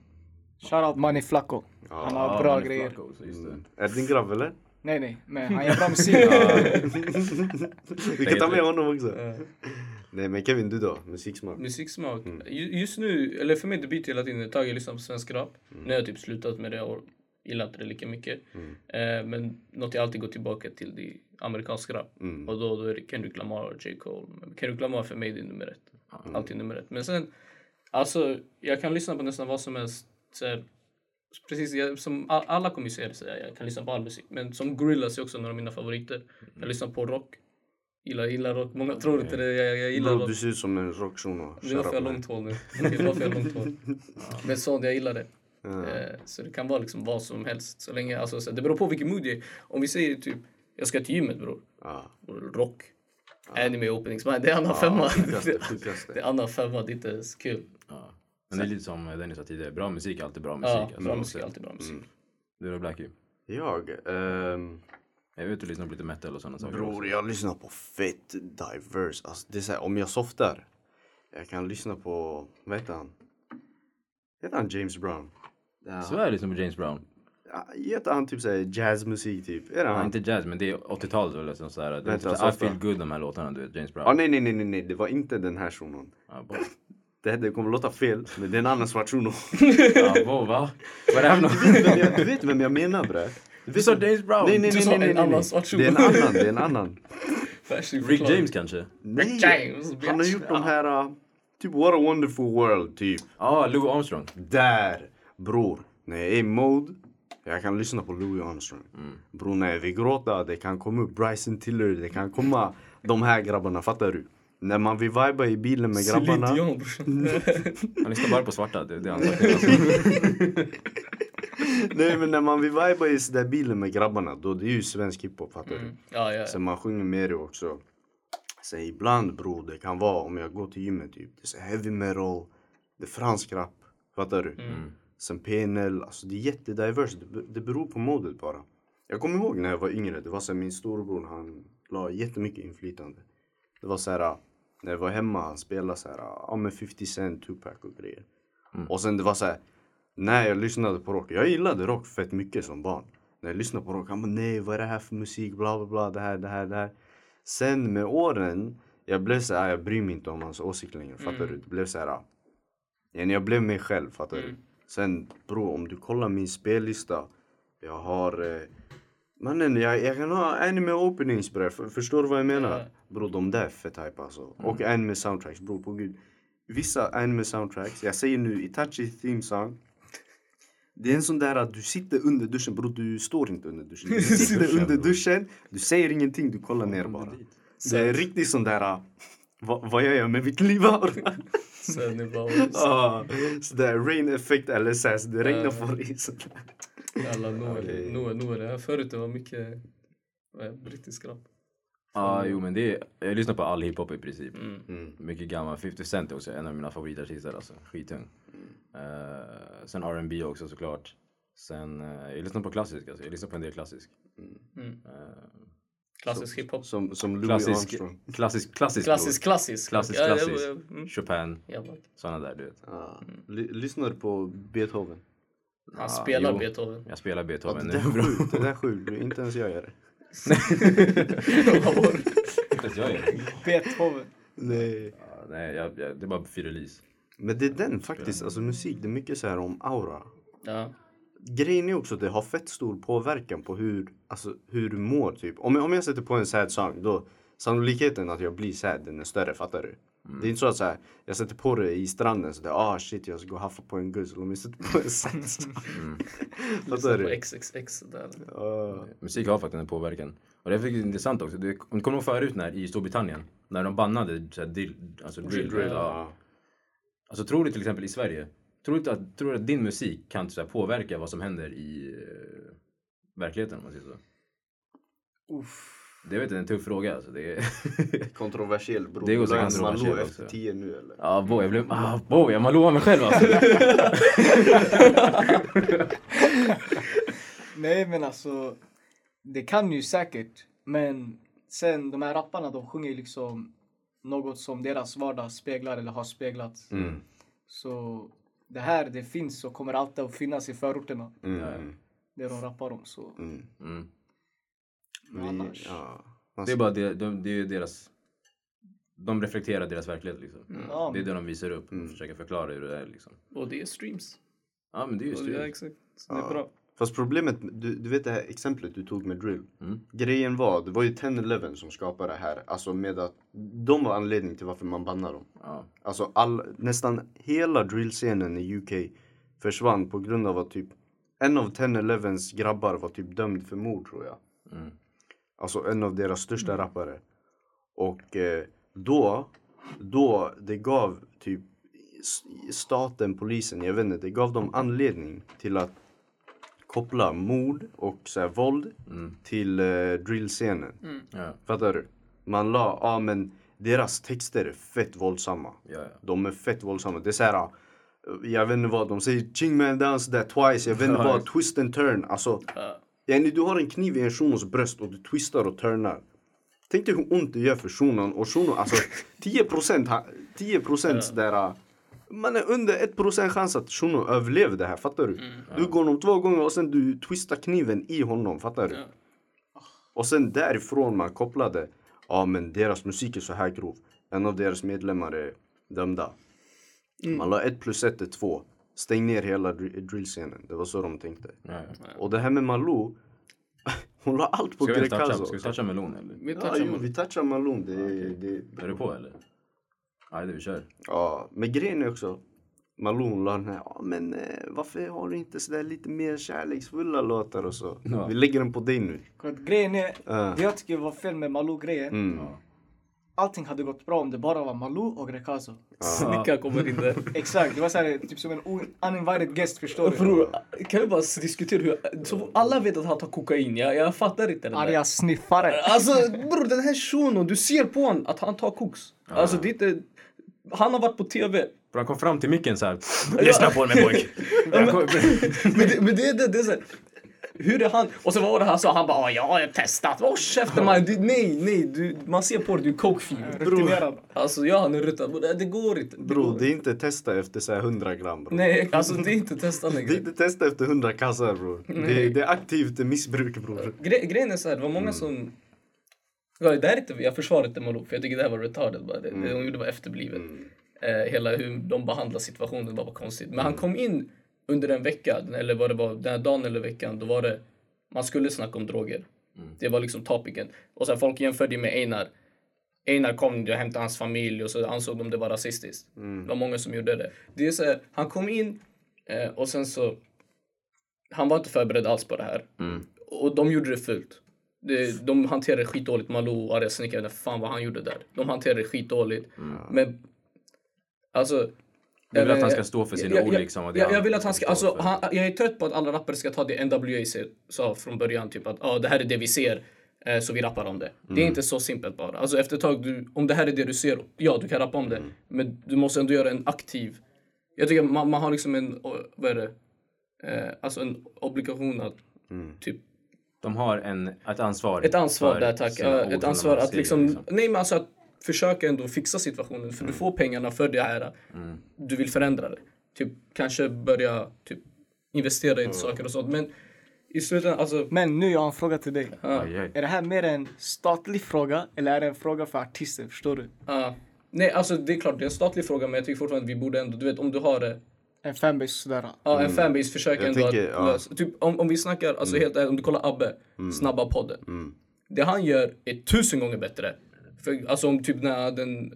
Speaker 1: Shoutout Mani Flacco. Han har
Speaker 5: Ja,
Speaker 1: bra
Speaker 5: han är
Speaker 1: grejer.
Speaker 5: flack Också, just det.
Speaker 3: Mm. Är det din grabb eller?
Speaker 1: Nej nej, men han gör bra musik.
Speaker 3: Du kan ta med honom också.
Speaker 4: Eh,
Speaker 3: Nej men Kevin, du då? Musiksmak?
Speaker 4: musiksmak.
Speaker 3: Mm.
Speaker 4: Ju- Just nu, eller för mig det byter hela tiden ett tag. Jag lyssnar på svensk rap.
Speaker 3: Mm.
Speaker 4: Nu har jag typ slutat med det och gillar inte det lika mycket. Eh, men något jag alltid går tillbaka till det är amerikansk rap.
Speaker 3: Mm.
Speaker 4: Och då, då är det Kendrick Lamar och J. Cole. Men Kendrick Lamar för mig det är nummer ett.
Speaker 3: Mm.
Speaker 4: Alltid nummer ett. Men sen, alltså jag kan lyssna på nästan vad som helst. Så här, precis jag, som a- alla kommer ju säga det, så här, jag kan lyssna på all musik. Men som Gorillaz är också några av mina favoriter.
Speaker 3: Mm.
Speaker 4: Jag lyssnar på rock. Gillar, gillar rock. Många tror inte det. Jag, jag gillar
Speaker 3: Bro,
Speaker 4: rock.
Speaker 3: du ser ut som en rockshuno.
Speaker 4: Det var för långt håll nu. Det var för långt håll. Men sånt, jag gillar det. Eh, Så det kan vara liksom vad som helst. Så länge, alltså, så det beror på vilken mood jag är. Om vi säger typ, jag ska till gymmet bror.
Speaker 3: Ja,
Speaker 4: Och Rock. Anime openings. Men det är annan femma.
Speaker 3: sjukaste,
Speaker 4: Det
Speaker 3: sjukaste.
Speaker 4: är annan femma, det är inte ens kul.
Speaker 5: Ja. Men det är lite som Dennis sa tidigare, bra musik är alltid bra musik.
Speaker 4: Ja,
Speaker 5: alltså.
Speaker 4: bra musik är alltid bra musik.
Speaker 5: Du då Blackie?
Speaker 3: Jag? ehm,
Speaker 5: Jag vet att du lyssnar på lite metal och sådana saker.
Speaker 3: Bror,
Speaker 5: också.
Speaker 3: jag lyssnar på fett diverse. Alltså, det är så här, om jag softar, jag kan lyssna på, vad heter han? Heter han James Brown?
Speaker 5: Så jag lyssnar på James Brown.
Speaker 3: Ja, Heter han typ såhär jazzmusik typ? Är det
Speaker 5: Ja,
Speaker 3: han?
Speaker 5: inte jazz, men det är 80-talet väl? Liksom såhär, det är
Speaker 3: Vänta,
Speaker 5: typ såhär, I
Speaker 3: softa.
Speaker 5: feel good, de här låtarna, du vet, James Brown.
Speaker 3: Ah, nej, nej, nej, nej, nej, det var inte den här shunon.
Speaker 5: Ja, bo-
Speaker 3: Det, här, det kommer låta fel, men det är en annan svart shuno.
Speaker 5: ja, bo, va? Vad är det här för något?
Speaker 3: Men jag- du vet vem jag menar bre?
Speaker 5: Du sa James Brown!
Speaker 3: Nej, nej,
Speaker 4: Du
Speaker 3: nej,
Speaker 4: sa
Speaker 3: nej,
Speaker 4: en
Speaker 3: nej, nej,
Speaker 4: annan
Speaker 3: nej.
Speaker 4: svart shuno.
Speaker 3: Det är en annan, det är en annan.
Speaker 4: Fashion
Speaker 5: Rick
Speaker 4: förklaring.
Speaker 5: James kanske?
Speaker 3: Nej,
Speaker 4: James,
Speaker 3: han har
Speaker 4: bitch.
Speaker 3: gjort de här, uh, typ What a wonderful world typ.
Speaker 5: Ja, Louis Armstrong.
Speaker 3: Där, bror. När jag är i mode, jag kan lyssna på Louis Armstrong.
Speaker 4: Mm.
Speaker 3: Bror, när jag vill gråta, det kan komma upp Bryson Tiller, det kan komma de här grabbarna, fattar du? När man vill viba i bilen med grabbarna.
Speaker 4: Celine Dion brorsan.
Speaker 5: Han lyssnar bara på svarta, det, det är han sagt.
Speaker 3: Nej men när man vill viba i så där bilen med grabbarna, då det är ju svensk hiphop, fattar du?
Speaker 4: Mm. Ja, ja.
Speaker 3: Sen man sjunger med det också. Sen ibland bror, det kan vara om jag går till gymmet typ. Det är så heavy metal, det är fransk rap. Fattar du? Sen PNL, alltså det är jättediverse. Det, be- det beror på modet bara. Jag kommer ihåg när jag var yngre, det var så här, min storebror han la jättemycket inflytande. Det var så här, när jag var hemma han spelade så här, ja men 50 Cent, Tupac och grejer. Och sen det var så här, när jag lyssnade på rock, jag gillade rock fett mycket som barn. När jag lyssnade på rock, han bara nej vad är det här för musik, bla bla bla, det här, det här, det här. Sen med åren, jag blev så här, jag bryr mig inte om hans åsikt längre, fattar du? Det blev så här, ja, jag blev mig själv, fattar du? Sen bro, om du kollar min spellista, jag har eh, Mannen, jag, jag kan ha anime openings bre, För, förstår du vad jag menar?
Speaker 4: Ja.
Speaker 3: Bro, de där är fett hype alltså. Och anime soundtracks, bro på gud. Vissa anime soundtracks, jag säger nu Itachi theme song. Det är en sån där att du sitter under duschen, bro du står inte under duschen. Du sitter under duschen, du säger ingenting, du kollar ner bara. Det är riktigt sån där, ah, vad, vad gör jag med mitt liv?
Speaker 4: Sen är bara
Speaker 3: Ah, så där rain effect LSS, det regnar
Speaker 4: Ja.
Speaker 3: för i sån där.
Speaker 4: alla Noel.
Speaker 3: Okej.
Speaker 4: Noel, Noel. Det här Förut det var mycket eh, brittisk rap.
Speaker 2: Ja, jo men det är, jag lyssnar på all hiphop i princip. Mycket gammal, 50 Cent är också en av mina favoritartister alltså, skittung. Eh, sen R&B också såklart. Sen, eh, jag lyssnar på klassisk alltså, jag lyssnar på en del klassisk.
Speaker 4: Klassisk hiphop.
Speaker 3: Som, som Louis
Speaker 2: Klassisk,
Speaker 3: Armstrong.
Speaker 2: klassisk, klassisk,
Speaker 4: Klassisk, klassisk.
Speaker 2: klassisk,
Speaker 4: Ja, ja,
Speaker 2: klassisk.
Speaker 4: ja, mm.
Speaker 2: Chopin,
Speaker 4: Jävlar.
Speaker 2: sådana där du vet.
Speaker 3: Ah. Ly- lyssnar du på Beethoven?
Speaker 4: Han
Speaker 2: Ja,
Speaker 4: spelar
Speaker 2: jo.
Speaker 4: Beethoven.
Speaker 2: Jag spelar
Speaker 3: Ja,
Speaker 2: Beethoven
Speaker 3: det
Speaker 2: nu.
Speaker 3: där är sjukt, det där är sjukt. Inte ens jag gör det.
Speaker 2: Jag gör det.
Speaker 1: Beethoven.
Speaker 3: Nej.
Speaker 2: Ja, Nej, jag, jag, det är bara fyrelis.
Speaker 3: Men det är den faktiskt, alltså musik, det är mycket så här om aura.
Speaker 4: Ja.
Speaker 3: Grejen är också att det har fett stor påverkan på hur, alltså, hur du mår typ. Om jag, om jag sätter på en sad song då sannolikheten att jag blir sad den är större, fattar du? Det är inte så att så här, jag sätter på det i stranden så det ah shit jag ska gå och haffa på en guss. Om jag sätter på en sad song.
Speaker 4: Lyssna
Speaker 3: fattar
Speaker 4: på
Speaker 3: du? Ah.
Speaker 4: XXX där.
Speaker 3: Ja.
Speaker 2: Musik har faktiskt en påverkan. Och det är faktiskt intressant också. Det, om du kommer ihåg förut när, i Storbritannien, när de bannade så här, drill, alltså drill.
Speaker 4: Drill,
Speaker 2: ja. Alltså tror du till exempel i Sverige, tror du inte att, tror du att din musik kan så här, påverka vad som händer i eh, verkligheten om man säger så? Det vet jag, det är en tuff fråga alltså. Det är...
Speaker 3: Kontroversiell bror.
Speaker 2: Det är också
Speaker 3: Då
Speaker 2: kontroversiell
Speaker 3: Malou
Speaker 2: också.
Speaker 3: efter 10 nu eller?
Speaker 2: Ja, ah, boy, jag blev... Ah, boy, jag lovar mig själv alltså.
Speaker 1: Nej men alltså, det kan ju säkert. Men sen de här rapparna de sjunger ju liksom något som deras vardag speglar eller har speglat.
Speaker 3: Mm,
Speaker 1: Så det här det finns och kommer alltid att finnas i förorterna.
Speaker 3: Mm.
Speaker 1: Det de rappar om. Så
Speaker 3: Mm.
Speaker 2: Mm.
Speaker 3: Vi,
Speaker 1: annars.
Speaker 3: ja.
Speaker 2: Det är bara det, de, det är deras... De reflekterar deras verklighet liksom.
Speaker 1: Ja,
Speaker 2: Det är
Speaker 1: men
Speaker 2: det de visar upp och försöker förklara hur det är liksom.
Speaker 4: Mm. Och det är streams.
Speaker 2: Ja, men det är ju
Speaker 4: Och det, ja,
Speaker 2: styrt.
Speaker 4: exakt. Så det är bra.
Speaker 3: Fast problemet, du, du vet det här exemplet du tog med drill.
Speaker 2: Mm.
Speaker 3: Grejen var, det var ju 10-11 som skapade det här. Alltså med att de var anledningen till varför man bannar dem.
Speaker 2: Ja.
Speaker 3: Alltså all, nästan hela drillscenen i UK försvann på grund av att typ en av 10-11s grabbar var typ dömd för mord tror jag.
Speaker 2: Mm.
Speaker 3: Alltså en av deras största rappare. Och eh, då, då det gav typ s- staten, polisen, jag vet inte, det gav dem anledning till att koppla mord och så här, våld till eh, drillscenen.
Speaker 2: Ja,
Speaker 3: Fattar du? Man la, ja men deras texter är fett våldsamma.
Speaker 2: ja, ja.
Speaker 3: De är fett våldsamma. Det är så här, eh, jag vet inte vad de säger. Ching man dance that twice. Jag vet inte
Speaker 2: Ja,
Speaker 3: vad.
Speaker 2: just.
Speaker 3: Twist and turn. Alltså,
Speaker 4: Ja.
Speaker 3: yani, du har en kniv i en shunos bröst och du twistar och turnar. Tänk dig hur ont det gör för shunon. Och shunon, alltså 10 procent, 10 procent där. eh, Man är under 1 procent chans att shunon överlever det här. Fattar du?
Speaker 4: Mm.
Speaker 3: Du går honom två gånger och sen du twistar kniven i honom. Fattar du?
Speaker 4: Ja.
Speaker 3: Och sen därifrån man kopplade. Ja men deras musik är så här grov. En av deras medlemmar är dömda. Man la ett plus ett är två. Stäng ner hela dr- drillscenen. Det var så de tänkte.
Speaker 2: ja, ja.
Speaker 3: Och det här med Malou. Hon la allt på
Speaker 2: Ska vi, ens
Speaker 3: Grekazo.
Speaker 2: toucha, Ah, ska vi toucha melon eller?
Speaker 4: Vi
Speaker 3: Ja,
Speaker 4: touchar
Speaker 3: jo,
Speaker 4: man-
Speaker 3: vi touchar Malou. Det, det,
Speaker 2: Är du på eller? Nej, det vi kör.
Speaker 3: ja. Men grejen är också. Malou hon la den här. Ja, men eh, varför har du inte sådär lite mer kärleksfulla låtar och så.
Speaker 2: Ja.
Speaker 3: Vi lägger den på dig nu. Eh,
Speaker 1: kolla, grejen är,
Speaker 3: Ja.
Speaker 1: det jag tycker var fel med Malou-grejen.
Speaker 3: Ah. Mm.
Speaker 1: Allting hade gått bra om det bara var Malou och Rekazo.
Speaker 4: Snickan kommer in där.
Speaker 1: Exakt, det var så här, typ som en o- uninvited guest förstår du.
Speaker 4: Bror, kan vi bara diskutera hur... Så alla vet att han tar kokain. Jag, jag fattar inte det där.
Speaker 1: Arga sniffare.
Speaker 2: Ah,
Speaker 4: Alltså bror, den här shunon, du ser på honom att han tar koks. Alltså det är inte... Han har varit på tv.
Speaker 2: För han kom fram till micken så här. Lyssna på mig pojk. Han kom-
Speaker 4: Men det, men det, är det, det är så här, Hur är han? Och så vad var det han sa? Han bara "Ja, jag har testat. Håll käften man. Du, nej, nej. Du, man ser på dig, du är kokfiend.
Speaker 1: Rutinerad.
Speaker 4: Alltså ja, han är ruttad. Det det går inte. Det
Speaker 3: Bro,
Speaker 4: går
Speaker 3: det är inte testa efter såhär 100 gram bro.
Speaker 4: Nej, alltså det är inte testa
Speaker 3: Det är
Speaker 4: längre.
Speaker 3: inte testa efter 100 kassar bror. Det, det är aktivt missbruk bror.
Speaker 4: Gre- grejen är så här, det var många som... Ja, det här är inte, jag försvarar inte Malou, för jag tycker det här var retarded. Bara. Det, det de gjorde var efterblivet. Eh, hela hur de behandlar situationen bara var konstigt. Men han kom in under en vecka, eller vad det var, den här dagen eller veckan, då var det... Man skulle snacka om droger. Det var liksom topicen. Och sen folk jämförde ju med Einar. Einar kom och hämtade hans familj och så ansåg de det var rasistiskt. Det var många som gjorde det. Det är så här, han kom in eh, och sen så... Han var inte förberedd alls på det här. Och de gjorde det fult. Det, de hanterade det skitdåligt. Malou och arga snickaren, jag vet inte fan vad han gjorde där. De hanterade det skitdåligt. Men alltså...
Speaker 2: Du vill att han ska stå för sina
Speaker 4: Eh, jag,
Speaker 2: ord
Speaker 4: jag,
Speaker 2: liksom? och det
Speaker 4: Jag, jag vill att han ska...
Speaker 2: står för.
Speaker 4: Alltså, han, jag är trött på att alla rappare ska ta det NWA se- sa från början. Typ att ah, det här är det vi ser. Eh, Så vi rappar om det.
Speaker 2: Mm.
Speaker 4: Det är inte så simpelt bara. Alltså efter ett tag, du, om det här är det du ser, ja du kan rappa om
Speaker 2: Mm.
Speaker 4: det. Men du måste ändå göra en aktiv... Jag tycker man, man har liksom en, o- vad är det? Eh, alltså en obligation att
Speaker 2: Mm.
Speaker 4: typ
Speaker 2: De har en, ett ansvar.
Speaker 4: ett ansvar
Speaker 2: för
Speaker 4: där tack.
Speaker 2: sina
Speaker 4: Ja,
Speaker 2: ord
Speaker 4: Ett
Speaker 2: som
Speaker 4: ansvar
Speaker 2: de
Speaker 4: att
Speaker 2: säger,
Speaker 4: liksom, nej men alltså att försöka ändå fixa situationen för du får pengarna för det här. Du vill förändra det. Typ kanske börja typ investera i saker och sånt. Men i slutändan, alltså.
Speaker 1: Men nu jag har en fråga till dig.
Speaker 2: Aj, aj.
Speaker 4: Eh,
Speaker 1: Är det här mer en statlig fråga eller är det en fråga för artisten? Förstår du?
Speaker 4: ja. nej alltså det är klart det är en statlig fråga men jag tycker fortfarande att vi borde ändå, du vet om du har det.
Speaker 1: En fanbase sådär.
Speaker 4: Ja, en fanbase försöker
Speaker 3: Jag
Speaker 4: ändå
Speaker 3: tänker,
Speaker 4: att
Speaker 3: ja.
Speaker 4: lösa. Typ om, om vi snackar, alltså helt ärligt, om du kollar Abbe, Snabba podden. Det han gör är tusen gånger bättre. För, alltså om typ när den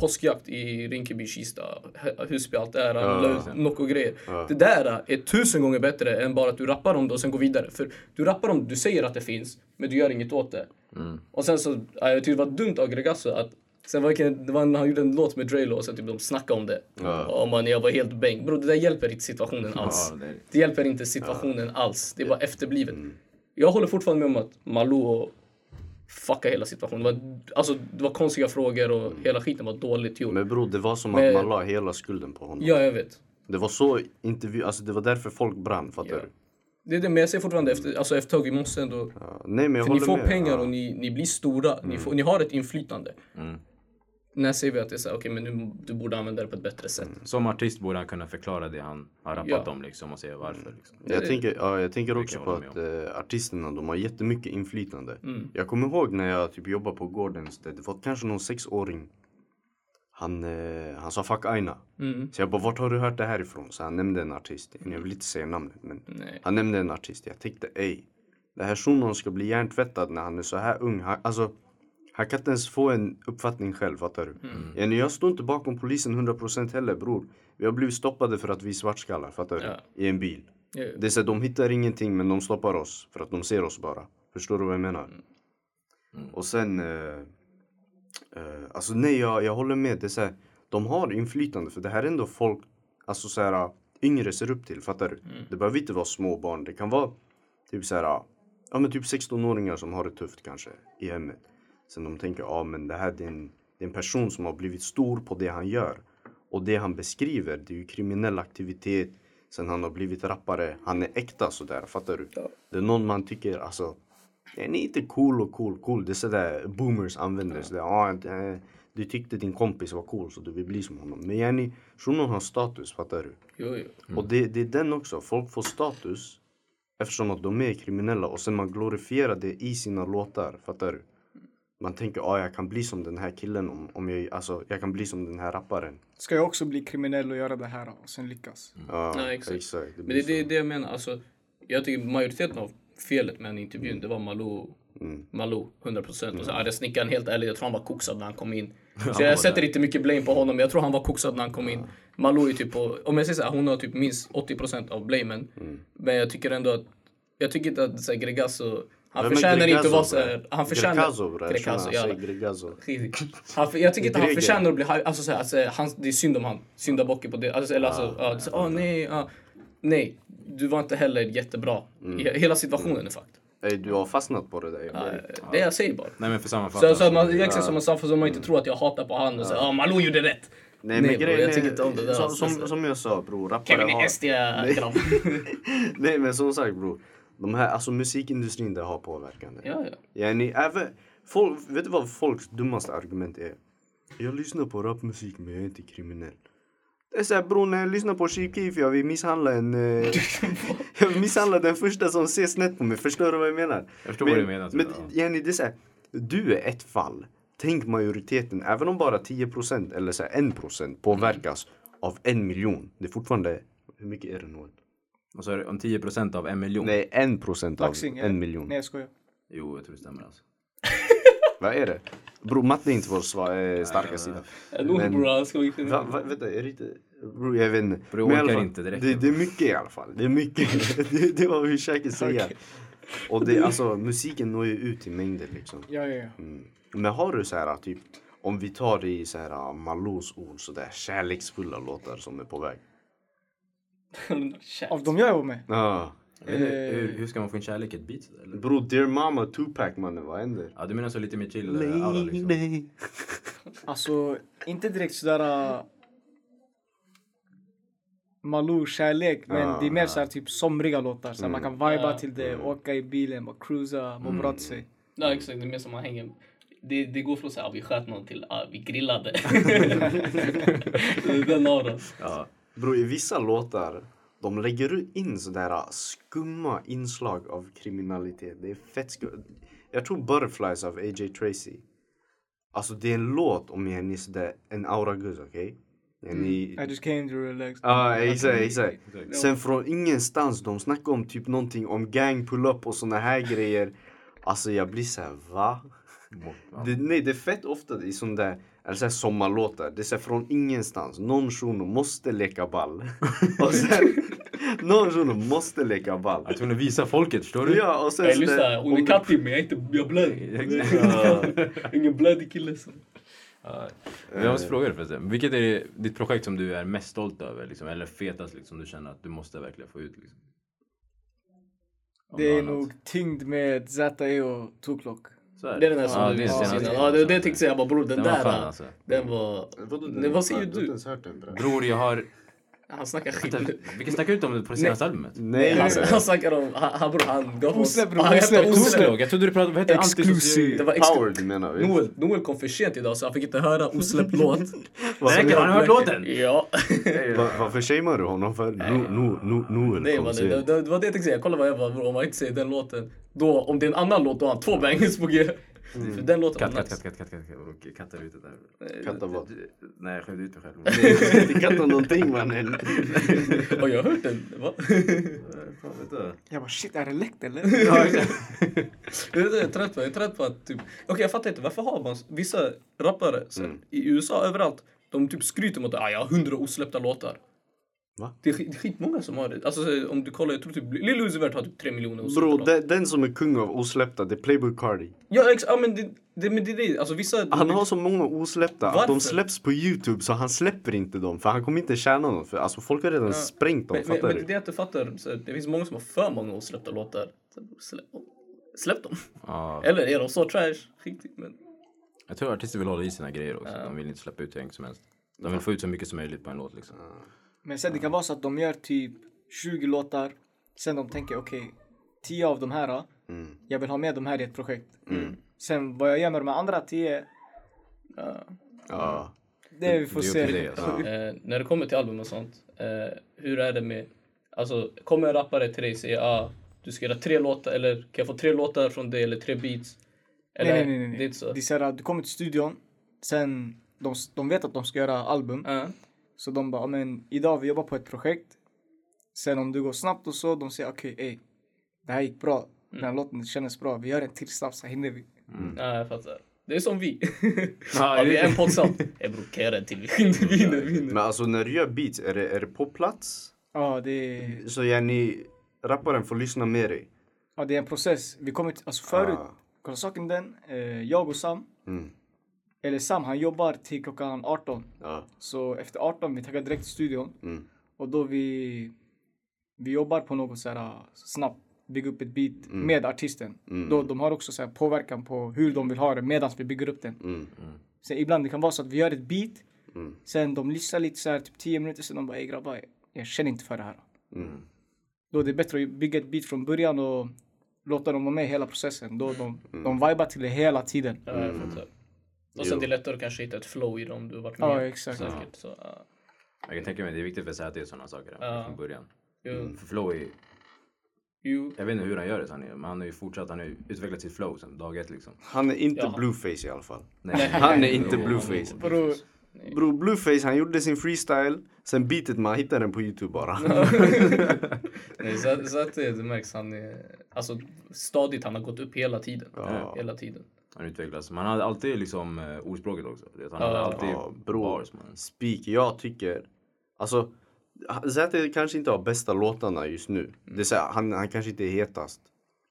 Speaker 4: påskjakt i Rinkeby, Kista, Hä- Husby, allt det här. Han la ut Nocco grejer. Det där eh, är tusen gånger bättre än bara att du rappar om det och sen går vidare. För du rappar om det, du säger att det finns, men du gör inget åt det.
Speaker 5: Mm.
Speaker 4: Och sen så, ja, jag tyckte det var dumt av Gregasso att Sen var det, det var när han gjorde en låt med Drelo och sen typ de snackade om det. Ja. man, jag var helt bäng. Bro, det där hjälper inte situationen alls.
Speaker 5: Ja, det är-
Speaker 4: Det hjälper inte situationen alls. Det är bara efterblivet.
Speaker 3: Mm.
Speaker 4: Jag håller fortfarande med om att Malou och fucka hela situationen. Det var, alltså, det var konstiga frågor och hela skiten var dåligt gjord.
Speaker 3: Mm. Men bror, det var som
Speaker 4: Men-
Speaker 3: att man la hela skulden på honom.
Speaker 4: Ja, jag vet.
Speaker 3: Det var så intervju, alltså det var därför folk brann, fattar
Speaker 4: Ja.
Speaker 3: du?
Speaker 4: Det är det, men jag säger fortfarande efter, alltså, efter ett tag, vi måste ändå...
Speaker 3: Ja. Nej men jag
Speaker 4: För ni
Speaker 3: håller
Speaker 4: får
Speaker 3: med.
Speaker 4: pengar
Speaker 3: ja. Mm.
Speaker 4: och ni, ni blir stora. Ni, får, ni har ett inflytande. När säger vi att det är så här, okej, men nu, du borde använda det på ett bättre sätt.
Speaker 2: Som artist borde han kunna förklara det han har rappat
Speaker 4: Ja.
Speaker 2: om liksom och säga varför. Liksom.
Speaker 3: Jag tänker, ja, jag tänker också
Speaker 2: jag
Speaker 3: på
Speaker 2: hålla
Speaker 3: att eh, artisterna de har jättemycket inflytande. Jag kommer ihåg när jag typ jobbade på Gårdens, det det var kanske någon sexåring. Han, eh, han sa fuck Aina. Så jag bara, vart har du hört det här ifrån? Så han nämnde en artist. Jag vill inte säga namnet men
Speaker 4: Nej.
Speaker 3: han nämnde en artist. Jag tänkte, ej. Den här shunon ska bli hjärntvättad när han är så här ung. Han, alltså, han kan inte ens få en uppfattning själv, fattar du? Mm. Jag står inte bakom polisen 100% heller bror. Vi har blivit stoppade för att vi är svartskallar, fattar du?
Speaker 4: Ja.
Speaker 3: I en bil.
Speaker 4: Ja, ja.
Speaker 3: Det är så här, de hittar ingenting men de stoppar oss för att de ser oss bara. Förstår du vad jag menar? Och sen... Eh, eh, alltså nej, jag, jag håller med. Det är så här, de har inflytande för det här är ändå folk, alltså så här, yngre ser upp till. Fattar du? Det behöver inte vara små barn. Det kan vara typ så här, ja men typ 16-åringar som har det tufft kanske i hemmet. Sen de tänker, ja men det här det är, en, det är en person som har blivit stor på det han gör. Och det han beskriver, det är ju kriminell aktivitet. Sen han har blivit rappare, han är äkta sådär, fattar du? Det är någon man tycker, alltså, den är inte cool och cool, cool. Det är sådär boomers använder. Sådär, ja, det- du tyckte din kompis var cool så du vill bli som honom. Men yani, shunon har status, fattar du?
Speaker 4: Jo, jo.
Speaker 3: Och det, det är den också. Folk får status eftersom att de är kriminella och sen man glorifierar det i sina låtar. Fattar du? Man tänker ah, jag kan bli som den här killen om, om jag, alltså, jag kan bli som den här rapparen.
Speaker 1: Ska jag också bli kriminell och göra det här och sen lyckas?
Speaker 3: Ja,
Speaker 4: Ja, exakt.
Speaker 3: Det
Speaker 4: Men
Speaker 3: blir
Speaker 4: det,
Speaker 3: så.
Speaker 4: det är det jag menar. Alltså, jag tycker majoriteten av felet med den intervjun, det var Malou.
Speaker 3: Mm.
Speaker 4: Malou, 100 procent. Och så arga snickaren, helt ärligt, jag tror han var koksad när han kom in. Så jag sätter inte mycket blame på honom, men jag tror han var koksad när han kom in. Malou är typ på, om jag säger så här, hon har typ minst 80 procent av blamen.
Speaker 3: Mm.
Speaker 4: Men jag tycker ändå att, jag tycker inte att så här, Gregasso, han
Speaker 3: Ja, men
Speaker 4: förtjänar inte att
Speaker 3: Gregazo,
Speaker 4: vara så här,
Speaker 3: bre.
Speaker 4: han förtjänar...
Speaker 3: Gregazo bre. Jag känner
Speaker 4: Gregazo,
Speaker 3: han
Speaker 4: jalla.
Speaker 3: säger Gregazo.
Speaker 4: Han, för- jag tycker inte han
Speaker 3: Greger.
Speaker 4: förtjänar att bli hype. Alltså, såhär, alltså, han, det är synd om han. Syndabocke på det. Alltså, eller alltså, ja, så, åh, nej, ja. nej. Du var inte heller jättebra. I, hela situationen är fucked.
Speaker 3: Ey, du har fastnat på det där. Jag ber.
Speaker 4: Det jag säger bara.
Speaker 2: Nej men för sammanfattning.
Speaker 4: Så, så att man, verkligen som man sa, för så man inte tror att jag hatar på han och säger ja Malou gjorde rätt.
Speaker 3: Nej,
Speaker 4: Nej,
Speaker 3: men
Speaker 4: bro,
Speaker 3: grejen
Speaker 4: jag
Speaker 3: är-
Speaker 4: tycker inte om det där,
Speaker 3: Som,
Speaker 4: alltså.
Speaker 3: som, som jag sa bror, rappare
Speaker 4: Kevin eh, är
Speaker 3: har...
Speaker 4: SD grabb.
Speaker 3: Nej men som sagt bror. De här, alltså musikindustrin det har påverkan.
Speaker 4: Ja, ja.
Speaker 3: Yani, även, folk, vet du vad folks dummaste argument är? Jag lyssnar på rapmusik men jag är inte kriminell. Det är såhär bror, när jag lyssnar på Chief Keef jag vill misshandla en... Eh, jag vill misshandla den första som ser snett på mig, förstår du vad jag menar?
Speaker 2: Jag förstår vad du menar, typ,
Speaker 3: Men
Speaker 2: tror
Speaker 3: yani, det är såhär, du är ett fall. Tänk majoriteten, även om bara 10% eller så här 1% påverkas av en miljon. Det är fortfarande, hur mycket är det
Speaker 2: Mm.
Speaker 3: nu?
Speaker 2: Och så är det om 10% av en miljon.
Speaker 3: Nej, 1% av
Speaker 1: Laxing, eller?
Speaker 3: en miljon.
Speaker 1: Nej jag skojar.
Speaker 2: Jo, jag tror det stämmer alltså.
Speaker 3: Vad är det? Bror, matte är inte vår sva- eh, starka sida.
Speaker 4: Nog bror, han ska vi
Speaker 3: Va, va, vänta, är det inte... Bro, jag vet inte.
Speaker 2: Bro, jag
Speaker 3: Men i alla
Speaker 2: orkar
Speaker 3: fall,
Speaker 2: inte, det räcker.
Speaker 3: det, det är mycket i alla fall. Det är mycket. det, det var vi försöker säga. Och det, alltså, musiken når ju ut i mängder liksom.
Speaker 1: Ja, ja, ja.
Speaker 3: Mm. Men har du så här typ, om vi tar det i så här ah, Malous ord, så där kärleksfulla låtar som är på väg.
Speaker 1: Av de jag är med?
Speaker 3: Ja.
Speaker 2: Jag vet inte,
Speaker 4: Eh.
Speaker 2: Hur, hur ska man få in kärlek i ett beat? Eller?
Speaker 3: Bro, Dear Mama, Tupac mannen, vad händer?
Speaker 2: Ja, du menar så lite mer chill eh, aura liksom?
Speaker 1: Alltså, inte direkt sådär... äh, Malou-kärlek, men det är mer såhär typ somriga låtar. Såhär,
Speaker 3: Mm.
Speaker 1: Man kan viba
Speaker 4: Ja.
Speaker 1: till det, åka i bilen, bara cruisa, må bra till sig.
Speaker 4: Ja, exakt. Det är mer som man hänger... Det, det går från så här, vi sköt någon till ah, vi grillade. Det är Den auran.
Speaker 2: Ja.
Speaker 3: Bro, i vissa låtar, de lägger in sådär äh, skumma inslag av kriminalitet. Det är fett skumt. Jag tror Butterflies av AJ Tracy. Alltså det är en låt om en är sådär, en auraguzz, okej? En i-
Speaker 1: I just came to relax.
Speaker 3: Ja, exakt, exakt. Sen från ingenstans, de snackar om typ någonting om gang pull-up och såna här grejer. Alltså jag blir så här, va? Det, nej, det är fett ofta i sån där, eller så här sommarlåtar. Det är så här från ingenstans. Någon shuno måste leka ball. och sen, någon shuno måste leka ball.
Speaker 2: Jag tror ni visar folket, förstår du?
Speaker 3: Ja, och sen
Speaker 4: Jag
Speaker 3: så där-
Speaker 2: eh,
Speaker 4: lyssnar, hon
Speaker 3: om
Speaker 4: är
Speaker 3: du-
Speaker 4: kattig men jag är inte, jag blöder. Ingen blödig kille som...
Speaker 2: Men
Speaker 4: Eh.
Speaker 2: Jag måste fråga dig förresten. Vilket är ditt projekt som du är mest stolt över? Liksom, eller fetast liksom, du känner att du måste verkligen få ut? Liksom? Om
Speaker 1: Det är
Speaker 2: något annat.
Speaker 1: nog tyngd med ZE och Tuklok.
Speaker 2: Så är
Speaker 4: Det är den där som
Speaker 2: Ja,
Speaker 4: du
Speaker 2: det är
Speaker 4: visade
Speaker 2: senaste.
Speaker 4: innan. Ja, det var det jag tänkte säga. Jag bara bror, den,
Speaker 2: alltså. Den var
Speaker 4: där. eh,
Speaker 2: fan, alltså.
Speaker 4: Den var...
Speaker 3: Vadå,
Speaker 4: Nej, vad säger du?
Speaker 2: Bror, jag har...
Speaker 4: Han snackar skit.
Speaker 2: Vänta, Vi kan snacka ut om det på det senaste albumet.
Speaker 3: Nej,
Speaker 4: Han,
Speaker 3: alltså.
Speaker 4: han snackar om... Han, han bror, han gav oss...
Speaker 1: Osle, bror,
Speaker 4: han
Speaker 1: Osle,
Speaker 4: hämtade
Speaker 1: Osle.
Speaker 4: Osle.
Speaker 2: Oslog, jag trodde du pratade... Vad heter det?
Speaker 1: Exclusive.
Speaker 4: Det var ex-
Speaker 3: Power, du menar vi?
Speaker 4: Noel, Noel kom för sent idag så han fick inte höra Osläpp låt.
Speaker 2: Det räcker, har ni hört låten?
Speaker 4: Ja.
Speaker 3: Va- Varför shamear du honom för? Nu, nu, nu, nu
Speaker 4: Nej, man, det, det, det var det jag tänkte säga. Kolla vad jag bara, bror, om man inte säger den låten. Då, om det är en annan låt, då har han två bangers på G.
Speaker 2: Mm.
Speaker 4: För den låten
Speaker 2: Katt,
Speaker 4: var
Speaker 2: katt,
Speaker 4: nice.
Speaker 2: katt, katt, katt, katt, katt. Okej, kattar ut det där.
Speaker 3: Katta vad?
Speaker 2: Nej, jag skämde ut mig själv.
Speaker 3: Inte katta någonting mannen.
Speaker 4: Har jag hört den? Va?
Speaker 1: Jag bara shit, är det läckt eller?
Speaker 4: Jag vet inte, jag är trött på, jag är trött på att typ... Okej jag fattar inte, varför har man vissa rappare så, här,
Speaker 3: Mm.
Speaker 4: i USA överallt, de typ skryter om att ah, jag har hundra osläppta låtar.
Speaker 3: Va?
Speaker 4: Det är, skit- det är skitmånga som har det. Alltså så, om du kollar, jag tror typ Lil Uzi Vert har typ tre miljoner osläppta
Speaker 3: Bro,
Speaker 4: låtar.
Speaker 3: den, den som är kung av osläppta, det är Playboy Cardi.
Speaker 4: Ja, ex, ja men det, det, men det är det, alltså vissa...
Speaker 3: Han har så många osläppta att
Speaker 4: Varför?
Speaker 3: de släpps på Youtube så han släpper inte dem för han kommer inte tjäna något. För alltså folk har redan sprängt dem,
Speaker 4: men, men,
Speaker 3: fattar
Speaker 4: men det
Speaker 3: du?
Speaker 4: är det jag inte fattar, så, här, det finns många som har för många osläppta låtar. Så, Släpp, släpp dem.
Speaker 2: Ja,
Speaker 4: Eller är de så trash? Skit i- men...
Speaker 2: jag tror artister vill hålla i sina grejer också. De vill inte släppa ut hur enkelt som helst. De vill få ut så mycket som möjligt på en låt liksom.
Speaker 1: Men sen det kan vara så att de gör typ 20 låtar, sen de tänker okej, 10 av de här, äh,
Speaker 3: Mm.
Speaker 1: jag vill ha med de här i ett projekt. Sen vad jag gör med de andra 10,
Speaker 3: Ja.
Speaker 1: det vi får
Speaker 2: Det är upp
Speaker 1: se.
Speaker 2: till dig, alltså.
Speaker 4: Eh, när det kommer till album och sånt, eh, hur är det med... Alltså, kommer en rappare till dig och säger ah, du ska göra tre låtar, eller kan jag få tre låtar från dig eller tre beats? Eller,
Speaker 1: nej, nej, nej, nej, nej.
Speaker 4: Det är inte så?
Speaker 1: Det är så här, du kommer till studion, sen de, de vet att de ska göra album.
Speaker 4: Ja.
Speaker 1: Så de bara, "Ja, men idag vi jobbar på ett projekt. Sen om det går snabbt och så, de säger okej, ey, det här gick bra. Den
Speaker 4: Mm.
Speaker 1: här låten kändes bra, vi gör en till snabbt så hinner vi.
Speaker 4: Ja, jag fattar. Det är som vi.
Speaker 2: Ja,
Speaker 4: ja, vi
Speaker 2: det-
Speaker 4: är en podd som... Jag bror, kan jag göra en till? Vi hinner, vi hinner, vi hinner.
Speaker 3: Men alltså när du gör beats, är det, är det på plats?
Speaker 1: Ja, det är...
Speaker 3: Så gör ni, rapparen får lyssna med dig.
Speaker 1: Ja, det är en process. Vi kommer till, alltså förut,
Speaker 3: Ah.
Speaker 1: kolla saken den, eh, jag och Sam,
Speaker 3: Mm.
Speaker 1: eller Sam han jobbar till klockan 18.
Speaker 3: Ja.
Speaker 1: Så efter 18 vi taggar direkt till studion och då vi, vi jobbar på något så här eh, snabbt, bygga upp ett beat med artisten. Då, de har också så här påverkan på hur de vill ha det medan vi bygger upp den.
Speaker 3: Mm.
Speaker 1: Sen ibland det kan vara så att vi gör ett beat, sen de lyssnar lite så här typ 10 minuter, sen de bara ey grabbar, jag känner inte för det här. Då är det bättre att bygga ett beat från början och låta dem vara med i hela processen. Då de, de vibar till det hela tiden.
Speaker 4: Ja, jag fattar. Och sen det är lättare att kanske hitta ett flow i det om du har varit med.
Speaker 1: Mm. Ja, exakt.
Speaker 4: Säkert, så, ja.
Speaker 2: Jag kan tänka mig, det är viktigt för sig att det är sådana saker
Speaker 4: Ja.
Speaker 2: från början.
Speaker 4: Jo,
Speaker 1: Mm.
Speaker 2: För flow är,
Speaker 4: jo.
Speaker 2: jag vet inte hur han gör det, så han är, men han har ju fortsatt, han har ju utvecklat sitt flow sen dag ett liksom.
Speaker 3: Han är inte
Speaker 4: Jaha.
Speaker 3: blueface i alla fall.
Speaker 2: Nej,
Speaker 3: Han är inte blueface.
Speaker 1: Bro,
Speaker 3: Bro, blueface han gjorde sin freestyle, sen beatet man hittar den på Youtube bara.
Speaker 4: Nej, så, att- så att det det märks. Han är alltså, stadigt. Han har gått upp hela tiden. Hela tiden.
Speaker 2: Han utvecklas. Men han hade alltid liksom eh, ordspråket också. Du vet, Han hade
Speaker 4: Ja.
Speaker 2: alltid
Speaker 3: Ja, bro.
Speaker 2: bars. Man.
Speaker 3: Speak, jag tycker... Alltså, Zäte kanske inte har bästa låtarna just nu. Det är så här, han, han kanske inte är hetast.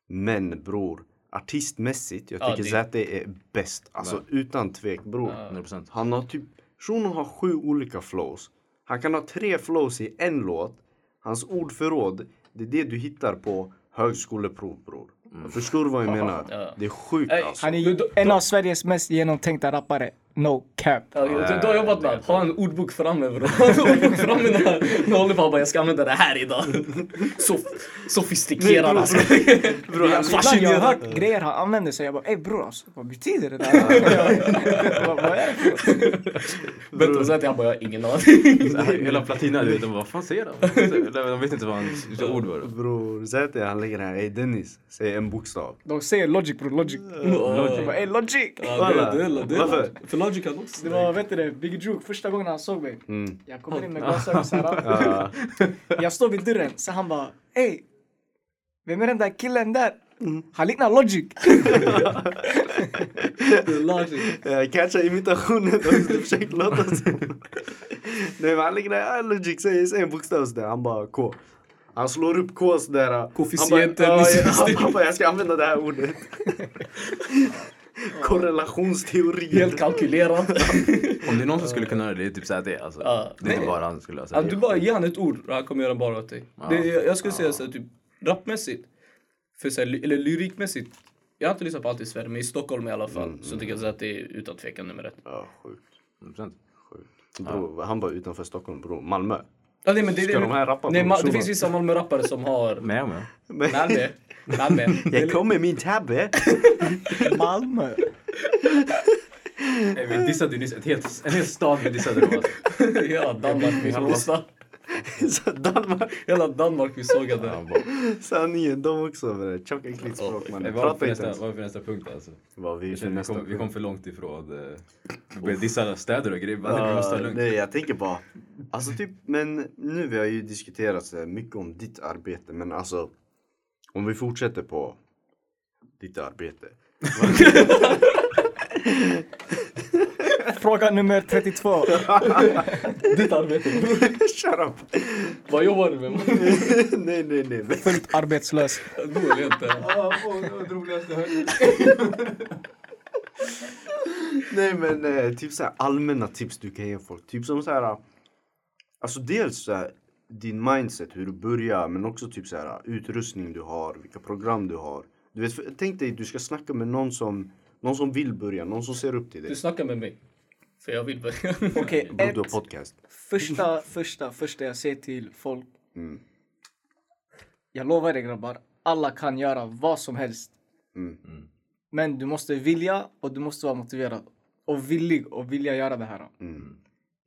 Speaker 3: Men bror, artistmässigt, jag
Speaker 4: Ja,
Speaker 3: tycker
Speaker 4: det-
Speaker 3: Zäte är bäst. Alltså utan tvek, bror.
Speaker 2: 100%.
Speaker 3: Han har typ... Shunon har sju olika flows. Han kan ha tre flows i en låt. Hans ordförråd Det är det du hittar på högskoleprov bror. Förstår du vad jag menar?
Speaker 4: Mm. Ja.
Speaker 3: Det är sjukt
Speaker 4: Ey,
Speaker 3: alltså.
Speaker 1: Han är en av Sveriges mest genomtänkta rappare. No cap.
Speaker 6: Ja, du, du har jobbat med Ha en ordbok framme bror. Ha en ordbok framme när, när Oliver bara jag ska använda det här idag. Sof, sofistikerad. alltså.
Speaker 1: Alltså, ibland jag har hört grejer han använder sig. Jag bara ey bror alltså, vad betyder det där? vad, vad är det? för-
Speaker 6: Bättre att säga att jag bara jag har ingen aning.
Speaker 2: Så här, Hela Platina, du vet, de bara, vad fan säger han? Eller, De vet inte vad han, vilka ord var det?
Speaker 3: Bror, säg till han lägger här. Ey Dennis, säg en bokstav.
Speaker 1: De säger logic bror, logic. Jag bara ey logic.
Speaker 6: Ja, det- det- det- det-
Speaker 3: Varför?
Speaker 6: För Logic hade också
Speaker 1: Det var, vet du det, Biggie Juke första gången han såg mig.
Speaker 3: Mm.
Speaker 1: Jag kommer in med glasögon såhär.
Speaker 3: Ja.
Speaker 1: Jag står vid dörren, så han bara ey. Vem är den där killen där? Han liknar Logic.
Speaker 6: Logic.
Speaker 3: Eh, Kanske imitationen också, försöker låta som... Nej men han lägger där, ah, Logic säger säg en bokstav sådär, han bara K. Han slår upp K sådär. Han bara,
Speaker 6: Koefficienter,
Speaker 3: "Ja, ja."
Speaker 6: missvisning.
Speaker 3: Han bara, jag ska använda det här ordet. Korrelationsteori.
Speaker 6: Helt kalkylerad.
Speaker 2: Om det är någon som skulle kunna göra det, det är typ såhär det alltså.
Speaker 4: Ja.
Speaker 2: Det är inte bara han skulle lösa
Speaker 4: Ja,
Speaker 2: det.
Speaker 4: du bara ger han ett ord och han kommer göra bara åt dig. Det, jag jag skulle säga så här, typ rapmässigt, för så här, ly- eller lyrikmässigt. Jag har inte lyssnat på allt i Sverige, men i Stockholm i alla fall så tycker jag så här att det är utan tvekan nummer ett.
Speaker 3: Ja, sjukt.
Speaker 2: 100%.
Speaker 3: Bro, han bara utanför Stockholm, bro. Malmö.
Speaker 4: Ja, nej, men det, är
Speaker 3: Ska
Speaker 4: det,
Speaker 3: de här rappa
Speaker 4: nej,
Speaker 3: på
Speaker 4: ma- det
Speaker 3: Zoom?
Speaker 4: finns vissa Malmö-rappare som har...
Speaker 2: Men jag med.
Speaker 4: Malmö. Malmö.
Speaker 3: Jag kom med min eh. tabbe.
Speaker 1: Malmö.
Speaker 2: Nej, Vi dissade ju nyss ett helt- en hel stad. Vi dissade dem alltså.
Speaker 4: Hela Danmark vi sågade.
Speaker 3: Så Danmark,
Speaker 4: Hela Danmark vi sågade.
Speaker 2: Ja, bara-
Speaker 3: sanningen, de också. bre. Tjocka äckligt språk
Speaker 2: Nej,
Speaker 3: mannen.
Speaker 2: Vad var
Speaker 3: Prata
Speaker 2: för
Speaker 3: inte
Speaker 2: nästa-
Speaker 3: ens.
Speaker 2: vad var för nästa punkt alltså?
Speaker 3: Vad vi
Speaker 2: Jag
Speaker 3: för
Speaker 2: känner, vi,
Speaker 3: nästa
Speaker 2: kom, vi kom
Speaker 3: punkt.
Speaker 2: för långt ifrån... eh, Vi började dissa städer och grejer. Vi bara,
Speaker 3: Ja,
Speaker 2: Vi måste ta det lugnt.
Speaker 3: nej, jag tänker bara... Alltså typ, men nu vi har ju diskuterat så här mycket om ditt arbete, men alltså... Om vi fortsätter på ditt arbete.
Speaker 1: Fråga nummer 32.
Speaker 6: Ditt arbete.
Speaker 3: Shut up!
Speaker 6: Vad jobbar du med?
Speaker 3: nej, nej, nej.
Speaker 1: Fullt arbetslös.
Speaker 6: Då är
Speaker 4: eh,
Speaker 6: inte.
Speaker 3: Nej men eh, typ så här allmänna tips du kan ge folk. Typ som så här. Alltså dels så här, din mindset, hur du börjar men också typ så här utrustning du har, vilka program du har. Du vet, för- tänk dig du ska snacka med någon som, någon som vill börja, någon som ser upp till
Speaker 4: Du
Speaker 3: dig.
Speaker 4: snackar med mig. För jag vill börja.
Speaker 1: Okej,
Speaker 3: Bror
Speaker 1: ett.
Speaker 3: du har podcast.
Speaker 1: Första, första, första jag säger till folk.
Speaker 3: Mm.
Speaker 1: Jag lovar er grabbar, alla kan göra vad som helst.
Speaker 3: Mm.
Speaker 1: Men du måste vilja och du måste vara motiverad. Och villig och vilja göra det här.
Speaker 3: Mm.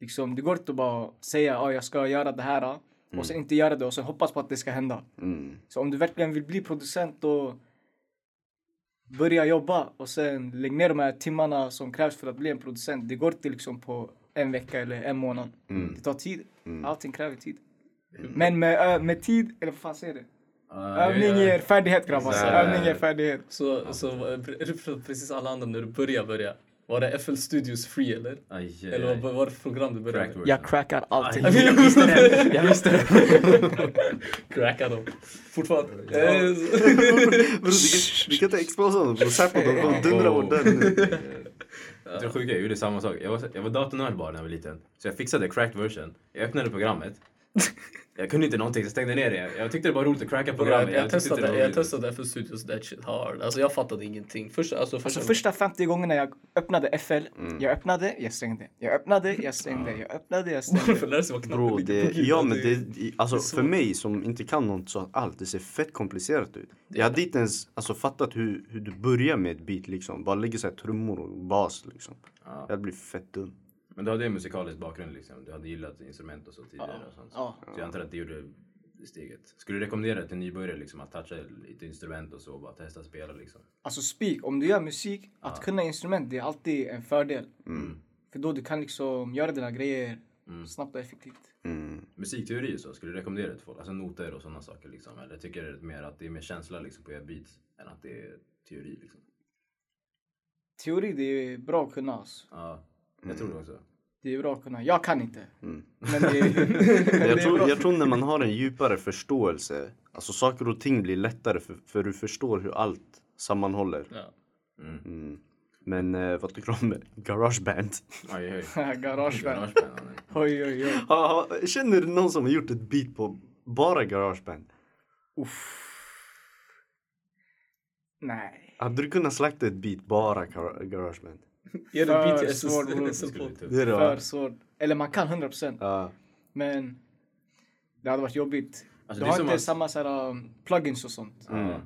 Speaker 1: Liksom, det går inte att bara säga att jag ska göra det här och sen inte göra det och sen hoppas på att det ska hända.
Speaker 3: Mm.
Speaker 1: Så om du verkligen vill bli producent då börja jobba och sen lägg ner de här timmarna som krävs för att bli en producent. Det går inte liksom på en vecka eller en månad. Det tar tid. Allting kräver tid. Men med, ö- med tid, eller vad fan säger du?
Speaker 2: Ah,
Speaker 1: Övning
Speaker 2: jag-
Speaker 1: ger färdighet grabbar. Övning ger färdighet.
Speaker 4: Så, så eh, pre- pre- precis alla andra när du börjar börja. Var det FL Studios Free eller?
Speaker 2: Aj, aj,
Speaker 4: Eller
Speaker 2: aj.
Speaker 4: vad vad var det för program du började
Speaker 2: Cracked
Speaker 4: med?
Speaker 2: words.
Speaker 1: Jag crackar allting.
Speaker 4: Jag visste det!
Speaker 2: Jag visste det!
Speaker 4: Cracka dem. Fortfarande. Eh, så-
Speaker 3: Bror du kan- du kan inte exposa dem, bror. Säpo de kommer dundra
Speaker 2: Wow.
Speaker 3: mot dörren nu.
Speaker 2: Eh, Det är sjuka, jag gjorde samma sak. Jag var, jag var datornörd bara när jag var liten. Så jag fixade cracked version. Jag öppnade programmet. Jag kunde inte någonting så jag stängde ner det. Jag tyckte det var roligt att cracka programmet.
Speaker 4: Jag, jag,
Speaker 2: tyckte inte
Speaker 4: testade,
Speaker 2: det var
Speaker 4: jag
Speaker 2: roligt.
Speaker 4: testade FL Studios that shit hard. Alltså jag fattade ingenting. Först, alltså, först,
Speaker 1: Alltså första 50 gångerna jag öppnade FL, jag öppnade, jag stängde. Jag öppnade, jag stängde. Jag öppnade, jag stängde.
Speaker 4: Varför lär sig vad knappen
Speaker 3: Bro,
Speaker 4: ligger
Speaker 3: det,
Speaker 4: på gud?
Speaker 3: ja men det, alltså för mig som inte kan något sånt allt, det ser fett komplicerat ut. Jag hade inte ens alltså, fattat hur, hur du börjar med ett beat liksom. Bara lägger så här trummor och bas liksom. Jag hade blivit fett dum.
Speaker 2: Men du hade ju en musikalisk bakgrund liksom. Du hade gillat instrument och så tidigare. Och sånt.
Speaker 1: Ja.
Speaker 2: Så jag antar att det gjorde steget. Skulle du rekommendera till nybörjare liksom, att toucha lite instrument och så och bara testa spela liksom?
Speaker 1: Alltså speak, om du gör musik, att kunna instrument det är alltid en fördel. För då du kan liksom göra dina grejer snabbt och effektivt.
Speaker 3: Mm.
Speaker 2: Musikteori och så, skulle du rekommendera det till folk? Alltså noter och sådana saker liksom. Eller tycker du mer att det är mer känsla liksom, på era beats än att det är teori liksom?
Speaker 1: Teori det är bra att kunna alltså.
Speaker 2: Ja, jag tror
Speaker 4: Mm.
Speaker 2: det också.
Speaker 1: Det är bra att kunna. Jag kan inte.
Speaker 3: Mm.
Speaker 1: Men det är,
Speaker 3: Jag, tror, jag tror när man har en djupare förståelse, alltså saker och ting blir lättare för, för du förstår hur allt sammanhåller.
Speaker 4: Ja.
Speaker 3: Mm. Men eh, vad tycker du om garageband?
Speaker 2: Aj, aj, aj.
Speaker 1: garageband.
Speaker 2: Garageband, ja, nej.
Speaker 1: Oj, oj, oj.
Speaker 3: Ha- ha- Känner du någon som har gjort ett beat på bara garageband?
Speaker 1: Uff. Nej.
Speaker 3: Hade du kunnat slakta ett beat bara Gar- Garageband?
Speaker 6: Gör
Speaker 1: För
Speaker 6: en BTS
Speaker 1: svår roll.
Speaker 6: support.
Speaker 3: Det är
Speaker 1: För
Speaker 3: det
Speaker 1: svårt. Eller man kan 100%.
Speaker 3: Ja.
Speaker 1: Men det hade varit jobbigt. Du
Speaker 2: Alltså, det är
Speaker 1: har
Speaker 2: som
Speaker 1: inte
Speaker 2: att...
Speaker 1: samma så här, um, plugins och sånt.
Speaker 3: Mm.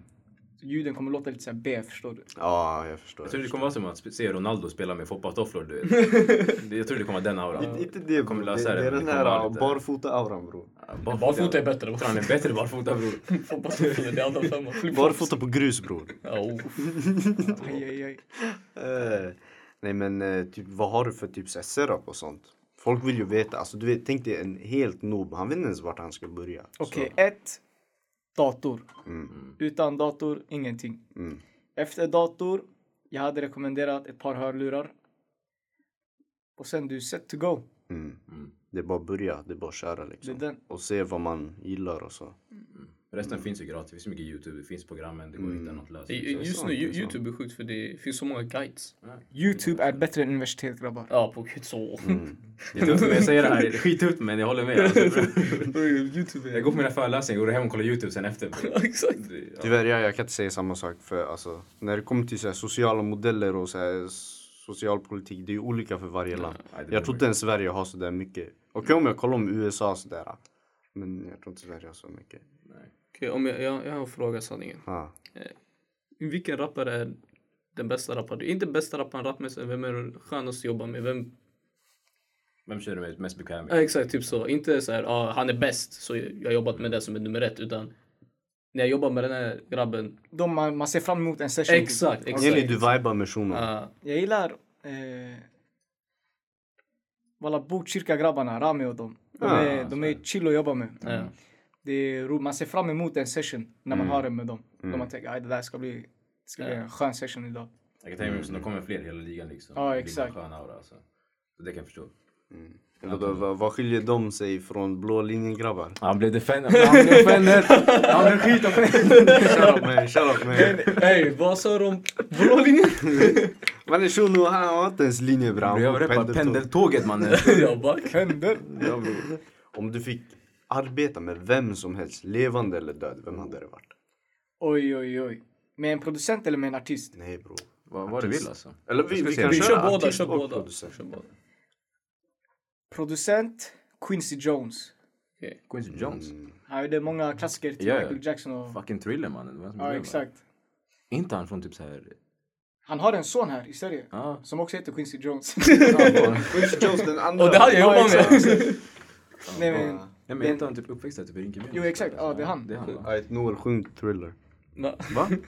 Speaker 1: Ljuden kommer låta lite så här B, förstår du?
Speaker 3: Ja, jag förstår.
Speaker 2: Jag tror det kommer vara som att sp- se Ronaldo spela med foppatofflor, du vet. Det- jag tror det kommer vara den auran.
Speaker 3: Inte- Inte det,
Speaker 2: kommer
Speaker 3: bro.
Speaker 2: lösa det,
Speaker 3: det är
Speaker 2: men
Speaker 3: den
Speaker 2: det kommer vara
Speaker 3: här
Speaker 2: lite-
Speaker 3: barfota-auran bror.
Speaker 4: Barfota är bättre.
Speaker 2: Jag tror han är bättre barfota bror.
Speaker 4: Hoppas det är det andra femman.
Speaker 3: Barfota på grus bror.
Speaker 4: Ja, oh.
Speaker 1: Aj, aj, aj.
Speaker 3: Eh, nej men eh, typ, vad har du för typ så här setup och sånt? Folk vill ju veta. Alltså, du vet, tänk dig en helt noob. Han vet inte ens vart han ska börja.
Speaker 1: Okej,
Speaker 3: Så,
Speaker 1: ett. Dator. Utan dator, ingenting.
Speaker 3: Mm.
Speaker 1: Efter dator, jag hade rekommenderat ett par hörlurar. Och sen du set to go.
Speaker 3: mm. Det är bara att börja. Det är bara att köra liksom.
Speaker 1: Det är den.
Speaker 3: Och se vad man gillar och så.
Speaker 2: Resten finns ju gratis. Det finns mycket YouTube, det finns programmen, det går att hitta något löst. liksom.
Speaker 4: Just nu,
Speaker 3: sant, Mm. det är
Speaker 4: Ju-
Speaker 3: sant.
Speaker 4: Youtube är sjukt för det finns så många guides.
Speaker 1: Youtube är bättre än universitet grabbar.
Speaker 4: Ja, på gud så.
Speaker 3: Mm.
Speaker 2: Det är tufft när jag säger det här, det är skittufft men jag håller med. Alltså,
Speaker 6: Youtube
Speaker 2: jag går på mina föreläsningar, går hem och kollar YouTube sen efter.
Speaker 4: Exakt.
Speaker 2: Det- ja.
Speaker 3: Tyvärr, jag, jag kan inte säga samma sak. För alltså, när det kommer till så här, sociala modeller och så här, socialpolitik, det är ju olika för varje land.
Speaker 2: Nej, det
Speaker 3: Jag tror
Speaker 2: beror
Speaker 3: inte ens Sverige har så där mycket. Okej om jag kollar om USA och sådär. Men jag tror inte Sverige har så mycket.
Speaker 4: Okej, om jag, jag, jag har en fråga sanningen.
Speaker 3: Ah.
Speaker 4: Vilken rappare är den bästa rapparen? Inte bästa rapparen rappmässigt, vem är den skönaste att jobba med? Vem?
Speaker 2: Vem kör du med mest bekväm med?
Speaker 4: Ja, exakt, typ så. Inte så här, ah, han är bäst så jag har jobbat med den som är nummer ett, utan när jag jobbar med den här grabben.
Speaker 1: De man, man ser fram emot en session. typ.
Speaker 4: Exakt, exakt.
Speaker 3: Jenny, du vibar med shunon.
Speaker 4: Ah,
Speaker 1: Jag gillar eh, Walla Botkyrka-grabbarna, Rami och dem. De
Speaker 3: Ah,
Speaker 1: är, de är chill att jobba med.
Speaker 4: ja.
Speaker 1: Det är ro, man ser fram emot en session när man har den med dem. Då man tänker att det där ska bli, det ska bli en skön session idag.
Speaker 2: Jag kan tänka mig att
Speaker 3: Mm.
Speaker 2: det kommer fler i hela ligan liksom.
Speaker 1: Ja,
Speaker 2: Det blir
Speaker 1: exakt.
Speaker 2: en skön aura alltså. Så det kan jag förstå.
Speaker 3: Vadå, vad, vad skiljer de sig från blå linjen-grabbar?
Speaker 2: Han blev defender, han blev offended! Han blev skitoffended!
Speaker 3: Shoutout man, shoutout man.
Speaker 4: Ey, vad sa de? Blå linjen?
Speaker 3: Mannen shunon, han har inte ens linje bror. Han
Speaker 2: Jag
Speaker 3: bor på
Speaker 2: reppar
Speaker 3: pendeltåg.
Speaker 2: pendeltåget mannen!
Speaker 4: Jag bara,
Speaker 3: Ja, bror. Om du fick arbeta med vem som helst, levande eller död, vem hade det varit?
Speaker 1: Oj, oj, oj. Med en producent eller med en artist?
Speaker 3: Nej bror.
Speaker 2: Vad vad du vill alltså.
Speaker 3: Eller vi,
Speaker 2: Jag ska
Speaker 3: vi
Speaker 2: se.
Speaker 3: kan
Speaker 2: Vi
Speaker 4: kör
Speaker 3: köra
Speaker 4: båda,
Speaker 3: artist
Speaker 4: kör
Speaker 3: och
Speaker 4: båda.
Speaker 3: producent.
Speaker 4: Kör bara.
Speaker 1: Producent, Quincy Jones.
Speaker 2: Quincy Jones.
Speaker 3: Mm.
Speaker 1: Han gjorde många klassiker till
Speaker 2: Ja, ja.
Speaker 1: Michael Jackson och...
Speaker 2: Fucking thriller mannen. Det var han som
Speaker 1: Ja,
Speaker 2: gjorde det, va?
Speaker 1: exakt.
Speaker 2: Är inte han från typ såhär...
Speaker 1: Han har en son här i Sverige
Speaker 2: Ja.
Speaker 1: som också heter Quincy Jones.
Speaker 3: Quincy Jones den andra.
Speaker 4: Och det hade jag jobbat
Speaker 1: exakt.
Speaker 4: med.
Speaker 1: Nej, men,
Speaker 2: Nej men är inte han typ uppväxt där typ i Rinkeby?
Speaker 1: Jo, exakt. Ja, det är han.
Speaker 2: Det är han va?
Speaker 3: Ajt, Noel, sjung thriller.
Speaker 4: Va?
Speaker 2: Va?
Speaker 3: Eh.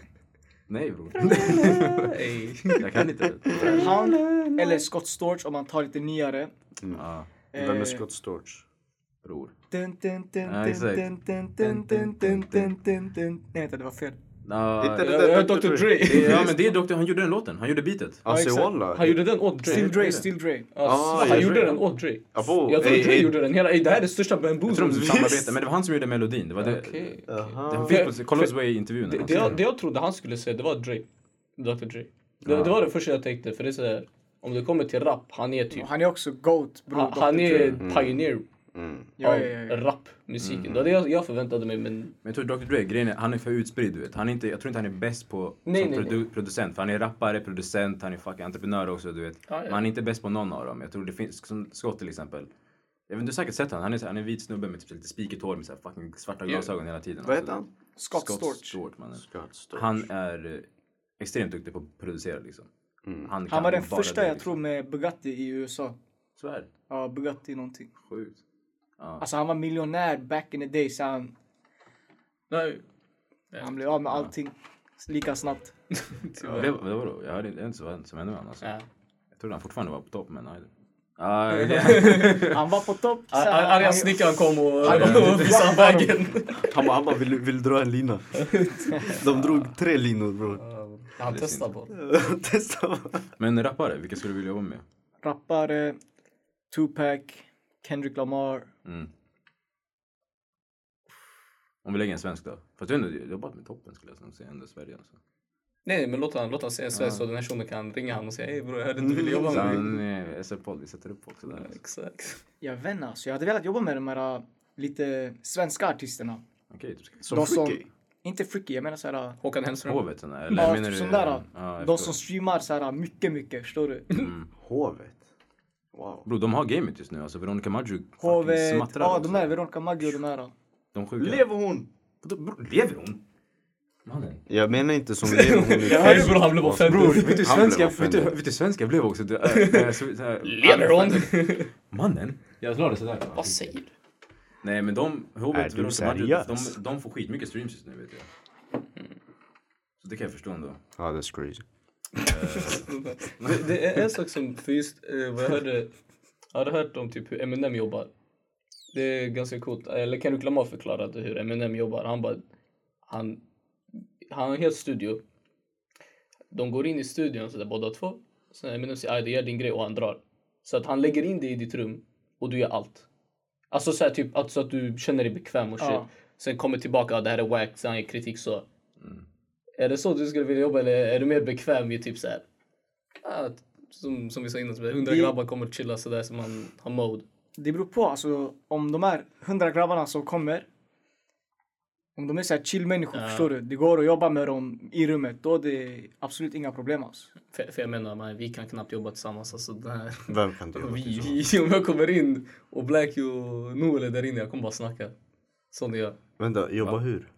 Speaker 2: Nej bror.
Speaker 4: Ey.
Speaker 2: Jag kan inte.
Speaker 4: Mm.
Speaker 1: han eller Scott Storch om man tar lite nyare.
Speaker 2: Ja,
Speaker 3: Vem är
Speaker 1: Eh,
Speaker 3: Scott Storch?
Speaker 2: bror.
Speaker 1: Dun, dun, dun,
Speaker 2: Ja,
Speaker 1: dun,
Speaker 2: exakt.
Speaker 1: dun, dun, dun, dun, dun, dun, dun, dun. Nej, vänta, det var fel.
Speaker 2: Ja,
Speaker 3: Hittade
Speaker 4: Jag jag
Speaker 3: den
Speaker 4: är Dr Dre.
Speaker 2: det- ja men det är Dr. Han gjorde den låten. Han gjorde beatet.
Speaker 3: Alltså
Speaker 1: exakt.
Speaker 3: walla.
Speaker 4: Han gjorde den åt Dre.
Speaker 1: Still Dre, Still Dre.
Speaker 4: Ja,
Speaker 3: Ah,
Speaker 4: han
Speaker 3: jag
Speaker 4: gjorde
Speaker 2: tror-
Speaker 4: den åt Dre.
Speaker 3: Ja, bo-
Speaker 4: Jag tror
Speaker 3: ey,
Speaker 4: Dre
Speaker 3: ey.
Speaker 4: gjorde den. Hela, ey, det här är det största
Speaker 2: Jag tror
Speaker 4: bamboo.
Speaker 2: de
Speaker 4: som-
Speaker 2: samarbetade men det var han som gjorde melodin. Det var det.
Speaker 4: Okej.
Speaker 3: Aha.
Speaker 2: Han fick på Colors Way i intervjun.
Speaker 4: Det, det, jag, det jag trodde han skulle säga, det var Dre. Dr Dre. Det, det var det första jag tänkte, för det är så här, om det kommer till rap, han är typ,
Speaker 1: Och Han är också GOAT, bror.
Speaker 4: han, han är pioneer
Speaker 1: Ja,
Speaker 3: Mm.
Speaker 4: av
Speaker 1: ja, ja, ja.
Speaker 4: rapmusiken. Det var det jag, jag förväntade mig, men
Speaker 2: Men jag tror Dr. Dre, grejen är, han är för utspridd du vet. Han är inte, jag tror inte han är bäst på
Speaker 4: Nej,
Speaker 2: som
Speaker 4: nej,
Speaker 2: produ- producent. För han är rappare, producent, han är fucking entreprenör också du vet.
Speaker 4: Ja, ja.
Speaker 2: Men han är inte bäst på någon av dem. Jag tror det finns, som Scott till exempel. Jag vet, du har säkert sett han. Han är, så- han är en vit snubbe med typ lite spikigt hår med så här fucking svarta glasögon hela tiden. Alltså,
Speaker 3: Vad heter han?
Speaker 1: Scott Storch.
Speaker 2: mannen.
Speaker 3: Scott Storch.
Speaker 2: Han är eh, extremt duktig på att producera liksom.
Speaker 1: Han
Speaker 2: kan
Speaker 1: var den
Speaker 2: bara
Speaker 1: första
Speaker 2: det,
Speaker 1: jag
Speaker 2: liksom.
Speaker 1: tror med Bugatti i USA.
Speaker 2: Svär.
Speaker 1: Ja, Bugatti någonting.
Speaker 2: Sjukt.
Speaker 1: Alltså han var miljonär back in the day så han,
Speaker 4: nej,
Speaker 1: han blev av med allting lika snabbt.
Speaker 2: Ja, det, det var då. Jag hörde inte ens vad som hände med honom. Alltså.
Speaker 4: Ja.
Speaker 2: Jag trodde han fortfarande var på topp men nej. Ah, det-
Speaker 1: Han var på topp. så
Speaker 4: Ar-
Speaker 1: han-
Speaker 4: ar- Arga
Speaker 1: han-
Speaker 4: snickaren kom och, och visade vägen.
Speaker 3: Han bara, han bara vill, vill dra en lina. De drog tre linor bror.
Speaker 4: Han testade bara.
Speaker 3: Testa. bara.
Speaker 2: Men rappare, vilka skulle du vilja jobba med?
Speaker 1: Rappare, Tupac, Kendrick Lamar.
Speaker 2: Mm. Om vi lägger en svensk då? Fast du har ändå jobbat med toppen skulle jag säga, så ändå i Sverige. Alltså.
Speaker 4: Nej, nej, men låt han, låt han säga Sverige så den här personen kan ringa han och säga hej bror, jag hörde inte du ville jobba med mig.
Speaker 2: Sen eh, SR-podd, vi sätter upp folk sådär.
Speaker 4: Exakt.
Speaker 1: alltså, Jag vet inte, alltså, jag hade velat jobba med de här äh, lite svenska artisterna.
Speaker 2: Okej, du ska...
Speaker 1: de
Speaker 3: Som
Speaker 1: som-
Speaker 3: Freaky.
Speaker 1: Inte freaky, jag menar såhär...
Speaker 4: Håkan Hellström.
Speaker 2: Hovet sådana, eller
Speaker 1: Ja,
Speaker 2: menar
Speaker 1: typ
Speaker 2: du?
Speaker 1: sån där.
Speaker 2: Ja, jag
Speaker 1: de
Speaker 2: förstår. Mm.
Speaker 1: som streamar såhär mycket, mycket. Förstår du?
Speaker 3: Hovet. Wow.
Speaker 2: Bro, de har gamet just nu alltså. Veronica Maggio fucking
Speaker 1: Hovet,
Speaker 2: smattrar
Speaker 1: ja
Speaker 2: också.
Speaker 1: äh, de där, Veronica Maggio de här. äh.
Speaker 2: De sjuka.
Speaker 3: Lever hon?
Speaker 2: Vadå, bro, lever hon? Mannen.
Speaker 3: Jag menar inte som lever hon.
Speaker 4: Jag hörde bror han blev offentlig.
Speaker 2: Bror, vet du
Speaker 3: Han blev
Speaker 2: svenska, vet du,
Speaker 3: offended.
Speaker 2: vet du svenska blev också? Det, äh, äh, så, så här,
Speaker 4: Lever hon?
Speaker 2: Mannen. Jag la det sådär.
Speaker 4: Vad säger du?
Speaker 2: Nej men de,
Speaker 3: Är
Speaker 2: Hovet,
Speaker 3: du
Speaker 2: Veronica Maggio,
Speaker 3: seriös?
Speaker 2: de, de får skitmycket streams just nu vet jag. Så det kan jag förstå ändå.
Speaker 3: Ja, that's crazy.
Speaker 4: Det, det är en sak som, för just eh, vad jag hörde, jag hade hört om typ hur Eminem jobbar. Det är ganska coolt. Eller Kendrick Lamar förklarade hur Eminem jobbar. Han bara, han, han har en hel studio. De går in i studion så där båda två. Sen Eminem säger, "Aj, du gör din grej och han drar. Så att han lägger in dig i ditt rum och du gör allt. Alltså så här, typ att, så att du känner dig bekväm och shit.
Speaker 1: Ja.
Speaker 4: Sen kommer tillbaka, "Ja, det här är wack, sen ger kritik så. Är det så du skulle vilja jobba eller är du mer bekväm med typ så här Ja, som, som vi sa innan, så hundra
Speaker 1: Det-
Speaker 4: grabbar kommer att chilla sådär som man har mode.
Speaker 1: Det beror på alltså om de här hundra grabbarna som kommer. Om de är såhär chill människor,
Speaker 4: Ja.
Speaker 1: förstår du? Det går att jobba med dem i rummet. Då är det absolut inga problem alltså.
Speaker 4: För, för jag menar, man, vi kan knappt jobba tillsammans. Alltså, den här.
Speaker 3: Vem kan du
Speaker 4: Vi, vi, om jag kommer in och Blackie och Noel är där inne, jag kommer bara snacka. Som det gör.
Speaker 3: Vänta, jobba hur?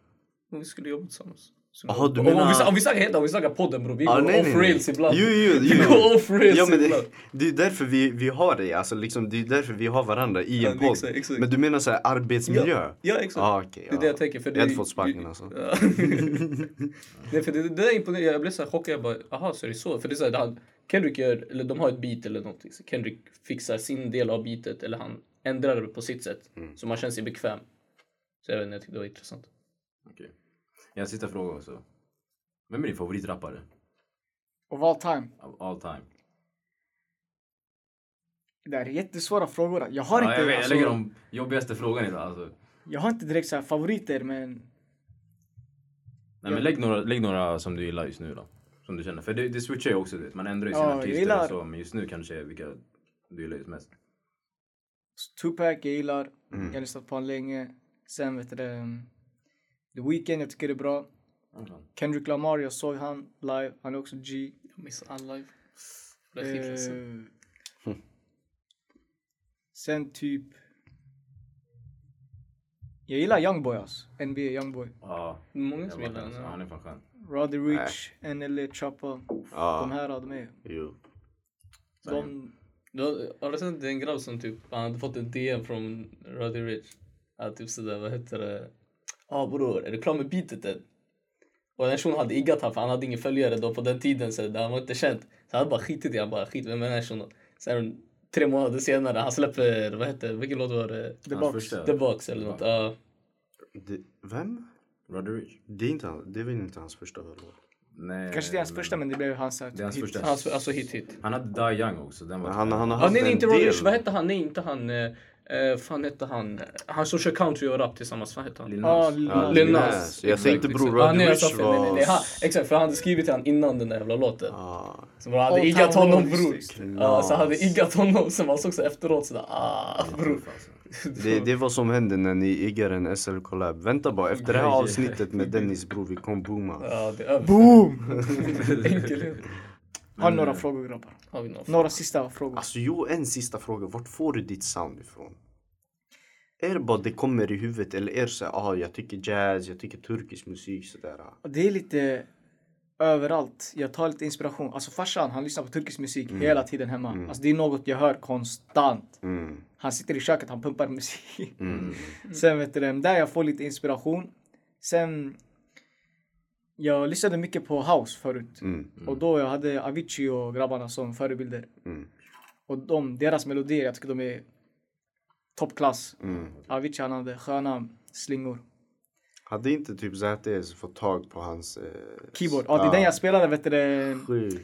Speaker 4: Om vi skulle jobba tillsammans. Så-
Speaker 3: Jaha, du
Speaker 4: om, om, vi,
Speaker 3: menar-
Speaker 4: om vi snackar helt om vi snackar podden bror, vi går off rails ibland.
Speaker 3: Jo, jo,
Speaker 4: Vi
Speaker 3: jo.
Speaker 4: går off rails
Speaker 3: ja, men det,
Speaker 4: ibland.
Speaker 3: det är därför vi, vi har dig, alltså liksom, det är därför vi har varandra i
Speaker 4: Ja,
Speaker 3: en
Speaker 4: det-
Speaker 3: podd.
Speaker 4: exakt, exakt.
Speaker 3: Men du menar såhär arbetsmiljö?
Speaker 4: Ja, exakt.
Speaker 3: Ah, okej,
Speaker 4: Det är
Speaker 3: ja.
Speaker 4: det jag tänker, för det-
Speaker 3: jag hade fått sparken alltså.
Speaker 4: Ja. Nej för det, det där är imponerande. Jag blev så här chockad. Jag bara, aha så är det så. För det är så här, han, Kendrick gör, eller de har ett beat eller någonting. Så Kendrick fixar sin del av beatet eller han ändrar det på sitt sätt. Så man känner sig bekväm. Så jag vet inte, jag tyckte det var intressant.
Speaker 2: Okej. Jag har en sista fråga också. Vem är din favoritrappare?
Speaker 1: Of all time.
Speaker 2: Of all time?
Speaker 1: Det här är jättesvåra frågor. Jag har
Speaker 2: Ja,
Speaker 1: inte,
Speaker 2: jag, vet, jag lägger
Speaker 1: alltså,
Speaker 2: de jobbigaste frågan idag alltså.
Speaker 1: jag har inte direkt så här favoriter men
Speaker 2: Nej men lägg några, lägg några som du gillar just nu då. Som du känner. För det, det switchar ju också. du vet. Man ändrar ju sina
Speaker 1: Ja, jag
Speaker 2: artister
Speaker 1: gillar-
Speaker 2: och så. Men just nu kanske vilka du gillar just mest.
Speaker 1: Tupac jag gillar. Jag har lyssnat på honom länge. Sen vet du det, um, The Weeknd jag tycker det är bra. Kendrick Lamar jag såg han live. Han är också G.
Speaker 4: Jag missade all live. Blev skitledsen.
Speaker 1: Eh, sen typ... Jag gillar Youngboy alltså. NBA Youngboy.
Speaker 2: Ja.
Speaker 4: Många
Speaker 2: Jag
Speaker 4: som
Speaker 2: bara,
Speaker 4: gillar
Speaker 2: alltså,
Speaker 4: den.
Speaker 2: han är fan skön.
Speaker 1: Roddy Rich, NLE Choppa. De
Speaker 3: Ja,
Speaker 1: här de är...
Speaker 3: jo.
Speaker 1: De,
Speaker 4: Du har- Har du sett det är en grabb som typ, han hade fått en DM från Roddy Rich. Att typ sådär, vad heter det? Ja ah, bror, är du klar med beatet än? Och den personen hade iggat han för han hade ingen följare då på den tiden så han var inte känd. Så han hade bara skitit i han bara skit, vem är den här personen? Sen tre månader senare, han släpper, vad heter vilken låt var det?
Speaker 1: the
Speaker 2: Hans
Speaker 1: box.
Speaker 2: första-
Speaker 4: The Box eller något. Ja.
Speaker 3: Det, vem?
Speaker 2: Roddy Rich?
Speaker 3: Det är, inte, han- det är väl inte hans första låt?
Speaker 2: Nej.
Speaker 1: Kanske inte hans första men det blev hans här,
Speaker 2: Det är hans
Speaker 1: hit.
Speaker 2: första.
Speaker 4: Hans- alltså hit hit.
Speaker 2: Han hade Die Young också. Den var typ-
Speaker 3: Han, han har
Speaker 4: Ah,
Speaker 3: haft
Speaker 4: nej, nej
Speaker 3: en
Speaker 4: inte
Speaker 3: del.
Speaker 4: Roddy Rich, vad hette han? Nej inte han, eh, eh, fan hette han? Han som kör country och rap tillsammans, vad hette han?
Speaker 2: Lil
Speaker 1: Ja,
Speaker 2: Nas.
Speaker 1: Lil
Speaker 3: Ja,
Speaker 1: Nas.
Speaker 3: Lil
Speaker 4: Lil Nas.
Speaker 3: Nas. Jag
Speaker 4: Exakt,
Speaker 3: tänkte bror
Speaker 4: exakt. Ah,
Speaker 3: Roddy
Speaker 4: nej, jag sa
Speaker 3: Rich
Speaker 4: fel. Nej, nej, nej. Han,
Speaker 3: var...
Speaker 4: exakt, för han hade skrivit till han innan den där jävla låten.
Speaker 3: Ah,
Speaker 4: Så man hade
Speaker 1: All
Speaker 4: iggat
Speaker 1: time
Speaker 4: honom
Speaker 1: low,
Speaker 4: bror.
Speaker 1: just det.
Speaker 4: Ja, så han hade iggat honom, sen man såg så efteråt sådär ah bror.
Speaker 3: Det, det var som hände när ni iggar en SL collab. Vänta bara, efter det här avsnittet med Dennis bror, vi kommer booma.
Speaker 4: Ja, det är över.
Speaker 1: Boom!
Speaker 4: Enkelhet.
Speaker 1: Har ni några frågor grabbar?
Speaker 4: Har vi någon?
Speaker 1: Några sista frågor.
Speaker 3: Alltså jo, en sista fråga. Vart får du ditt sound ifrån? Är det bara det kommer i huvudet eller är det så här, ah, jag tycker jazz, jag tycker turkisk musik sådär. ah.
Speaker 1: Det är lite överallt. Jag tar lite inspiration. Alltså farsan, han lyssnar på turkisk musik hela tiden hemma. Alltså det är något jag hör konstant.
Speaker 3: Mm.
Speaker 1: Han sitter i köket, han pumpar musik. Sen vet du det, där jag får lite inspiration. Sen... Jag lyssnade mycket på house förut.
Speaker 3: Mm.
Speaker 1: Och då jag hade Avicii och grabbarna som förebilder.
Speaker 3: Mm.
Speaker 1: Och de, deras melodier, jag tycker de är toppklass.
Speaker 3: Mm.
Speaker 1: Avicii han hade sköna slingor.
Speaker 3: Hade inte typ ZS fått tag på hans... Eh,
Speaker 1: Keyboard, ja det är den jag spelade vet du det.
Speaker 3: Sjukt.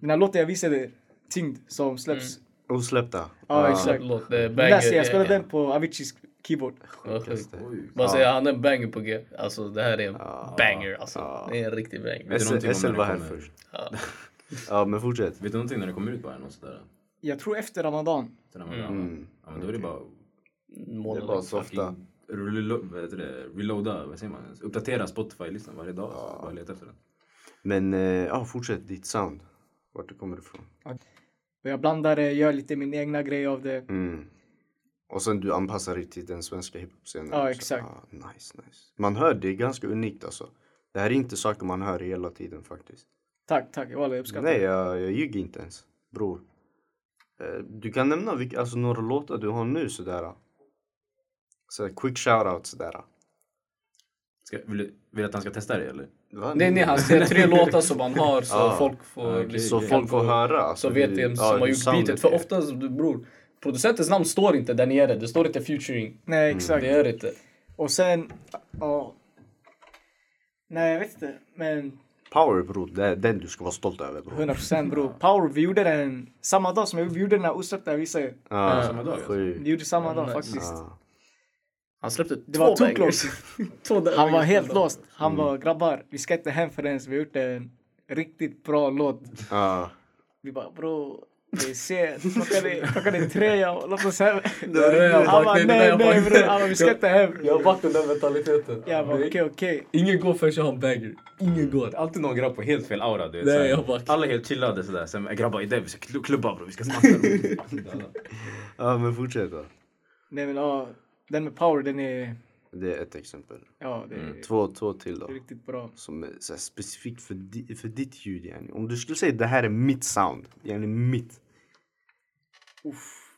Speaker 1: Den här låten jag visade er, Tyngd, som släpps.
Speaker 3: Osläppta.
Speaker 1: Ja,
Speaker 3: Ah,
Speaker 1: exakt.
Speaker 4: Låt, det är
Speaker 1: Den där, jag
Speaker 4: banger.
Speaker 1: spelade
Speaker 4: det-
Speaker 1: den på Aviciis keyboard.
Speaker 4: Ja, sjukt.
Speaker 3: Oj.
Speaker 4: Bara säga, han är en banger på G. Alltså det här är en banger alltså. Det är en riktig
Speaker 2: Vet
Speaker 4: banger.
Speaker 2: du
Speaker 3: S-
Speaker 2: någonting om när
Speaker 3: SL
Speaker 2: det
Speaker 3: var här
Speaker 2: kommer?
Speaker 3: först. Ja, men fortsätt.
Speaker 2: Vet du någonting när det kommer ut bara? Något sådär?
Speaker 1: Jag tror efter Ramadan.
Speaker 2: Sen när man var gammal? Ja men då är det bara
Speaker 3: Mm. Det är bara
Speaker 4: Månaden.
Speaker 3: softa.
Speaker 2: fucking relo- vad heter det, reloada, vad säger man? ens? Uppdatera Spotify-listan varje dag. Så bara leta efter den.
Speaker 3: Men eh, ja, fortsätt ditt sound. Vart det kommer ifrån.
Speaker 1: Och jag blandar det, gör lite min egna grej av det.
Speaker 3: Mm. Och sen du anpassar dig till den svenska hiphop-scenen.
Speaker 1: Ja,
Speaker 3: också.
Speaker 1: exakt.
Speaker 3: Ah, nice, nice. Man hör det, är ganska unikt alltså. Det här är inte saker man hör hela tiden faktiskt.
Speaker 1: Tack, tack. Walla, jag uppskattar
Speaker 3: Nej,
Speaker 1: det.
Speaker 3: jag, jag ljuger inte ens. Bror. Eh, Du kan nämna vilka, alltså, några låtar du har nu sådär. Så quick shoutout sådär.
Speaker 2: Ska, vill, du- vill du att han ska testa det eller?
Speaker 3: Va?
Speaker 4: Nej, nej, han säger tre låtar som han har så
Speaker 3: Ah.
Speaker 4: folk får...
Speaker 2: Ah, okej.
Speaker 3: Så folk får höra. Alltså,
Speaker 4: Så vet
Speaker 3: hur-
Speaker 4: vem
Speaker 3: ja,
Speaker 4: som
Speaker 3: hur
Speaker 4: har gjort
Speaker 3: soundet
Speaker 4: beatet. För
Speaker 3: är.
Speaker 4: oftast, bror, producentens namn står inte där nere. Det står inte featuring.
Speaker 1: Nej, exakt.
Speaker 4: Det gör det inte.
Speaker 1: Och sen, ja. Nej, jag vet inte. Men
Speaker 3: Power bror, det är den du ska vara stolt över bror.
Speaker 1: 100% bro. Power, vi gjorde den samma dag som vi gjorde den här osläppta visade.
Speaker 3: Ja,
Speaker 2: Samma dag, alltså.
Speaker 3: sjukt.
Speaker 1: Vi gjorde samma dag faktiskt.
Speaker 3: Ja.
Speaker 4: Han släppte två
Speaker 1: Det var
Speaker 4: bangers.
Speaker 1: toklås.
Speaker 4: Två där-
Speaker 1: Han var helt lost. Han var
Speaker 3: Mm.
Speaker 1: grabbar, vi ska inte hem förrän vi har gjort en riktigt bra låt.
Speaker 3: Ja.
Speaker 1: Vi bara bro, det är sent. Klockan är- Klockan är tre, ja. låt oss hem.
Speaker 4: Nej, jag
Speaker 1: Han bara
Speaker 4: vaknade
Speaker 1: nej,
Speaker 4: innan
Speaker 1: nej
Speaker 4: jag vaknade.
Speaker 1: bror. Han bara vi ska inte hem.
Speaker 4: Jag har varit den där mentaliteten.
Speaker 1: Jag bara okej, okej.
Speaker 4: Ingen går förrän jag har en banger. Ingen går.
Speaker 2: Alltid någon grabb på helt fel aura. Du vet,
Speaker 4: Nej,
Speaker 2: såhär.
Speaker 4: jag bara-
Speaker 2: Alla är helt chillade sådär. Sen "Ey, grabbar, idé, vi ska kl- klubba bro, vi ska smaska. bro."
Speaker 3: ja, men fortsätt då.
Speaker 1: Nej men ja, den med power den är,
Speaker 3: Det är ett exempel.
Speaker 1: ja det är
Speaker 3: Två, två till då.
Speaker 1: riktigt bra.
Speaker 3: Som är så här, specifikt för, di- för ditt ljud yani. Om du skulle säga det här är mitt sound. Yani mitt.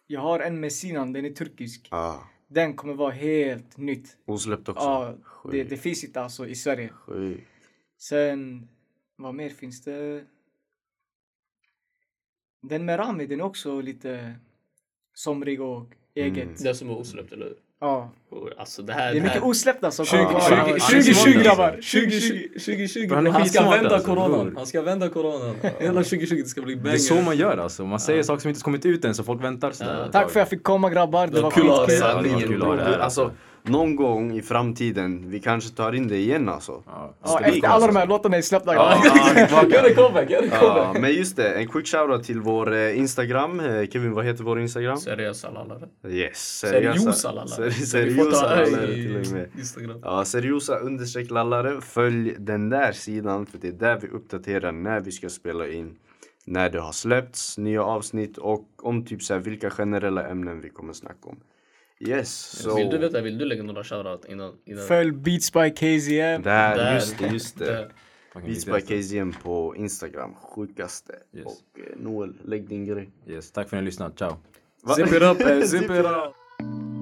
Speaker 1: Jag har en med Sinan, den är turkisk.
Speaker 3: Ja.
Speaker 1: Den kommer vara helt nytt.
Speaker 3: Osläppt också.
Speaker 1: Ja, det,
Speaker 3: Sjukt,
Speaker 1: det finns inte alltså i Sverige.
Speaker 3: sjukt.
Speaker 1: Sen, vad mer finns det? Den med Rami, den är också lite somrig och eget.
Speaker 4: Det som var osläppt, eller hur?
Speaker 1: Ja.
Speaker 4: Och Alltså det här...
Speaker 1: Det är mycket osläppta som
Speaker 4: 20,
Speaker 1: kommer vara-
Speaker 4: 20, 20, 20 grabbar! 2020 20,
Speaker 2: Han är
Speaker 4: Han ska
Speaker 2: skitsmart,
Speaker 4: vända
Speaker 2: alltså,
Speaker 4: coronan.
Speaker 2: bror.
Speaker 4: Han ska vända coronan. Hela 2020 det ska bli
Speaker 2: Det är så
Speaker 4: banger.
Speaker 2: man gör alltså. Man säger saker som inte kommit ut än så folk väntar sådär. ett
Speaker 1: Tack
Speaker 2: tag.
Speaker 1: för att jag fick komma grabbar, det
Speaker 4: Det
Speaker 1: var
Speaker 4: var kul att ha
Speaker 1: skitkul.
Speaker 4: dig.
Speaker 2: hade varit
Speaker 3: Sanningen
Speaker 2: kul att ha
Speaker 3: bror.
Speaker 2: det här,
Speaker 3: Alltså, någon gång i framtiden, vi kanske tar in det igen alltså.
Speaker 2: Ja.
Speaker 1: Ja, efter alla de här låtarna är släppta grabbar.
Speaker 4: Gör en comeback, gör en
Speaker 3: Ja,
Speaker 4: comeback!
Speaker 3: men just det, en quick shoutout till vår eh, Instagram. Eh, Kevin, vad heter vår Instagram?
Speaker 4: Seriösa lallare.
Speaker 3: Yes,
Speaker 4: Seriosa lallare.
Speaker 3: Ser-
Speaker 4: Vi får
Speaker 3: Seriosa
Speaker 4: ta
Speaker 3: lallare
Speaker 4: i
Speaker 3: till och med. Alltså,
Speaker 4: Instagram.
Speaker 3: Ja, seriosa understreck lallare. Följ den där sidan för det är där vi uppdaterar när vi ska spela in, när det har släppts nya avsnitt och om typ så här vilka generella ämnen vi kommer snacka om. Yes, så.
Speaker 4: Vill du veta, vill du lägga några shoutout innan? innan
Speaker 1: Följ Beats by KZM.
Speaker 3: Där,
Speaker 4: Där.
Speaker 3: just det, just det.
Speaker 4: Där.
Speaker 2: Man kan
Speaker 3: Beats
Speaker 2: bli
Speaker 3: by
Speaker 2: bäst.
Speaker 3: KZM på Instagram, sjukaste.
Speaker 2: Yes.
Speaker 3: Och eh, Noel, lägg din grej.
Speaker 2: Yes, tack för att ni har lyssnat. Ciao.
Speaker 4: Zip it up, eh, zip it up!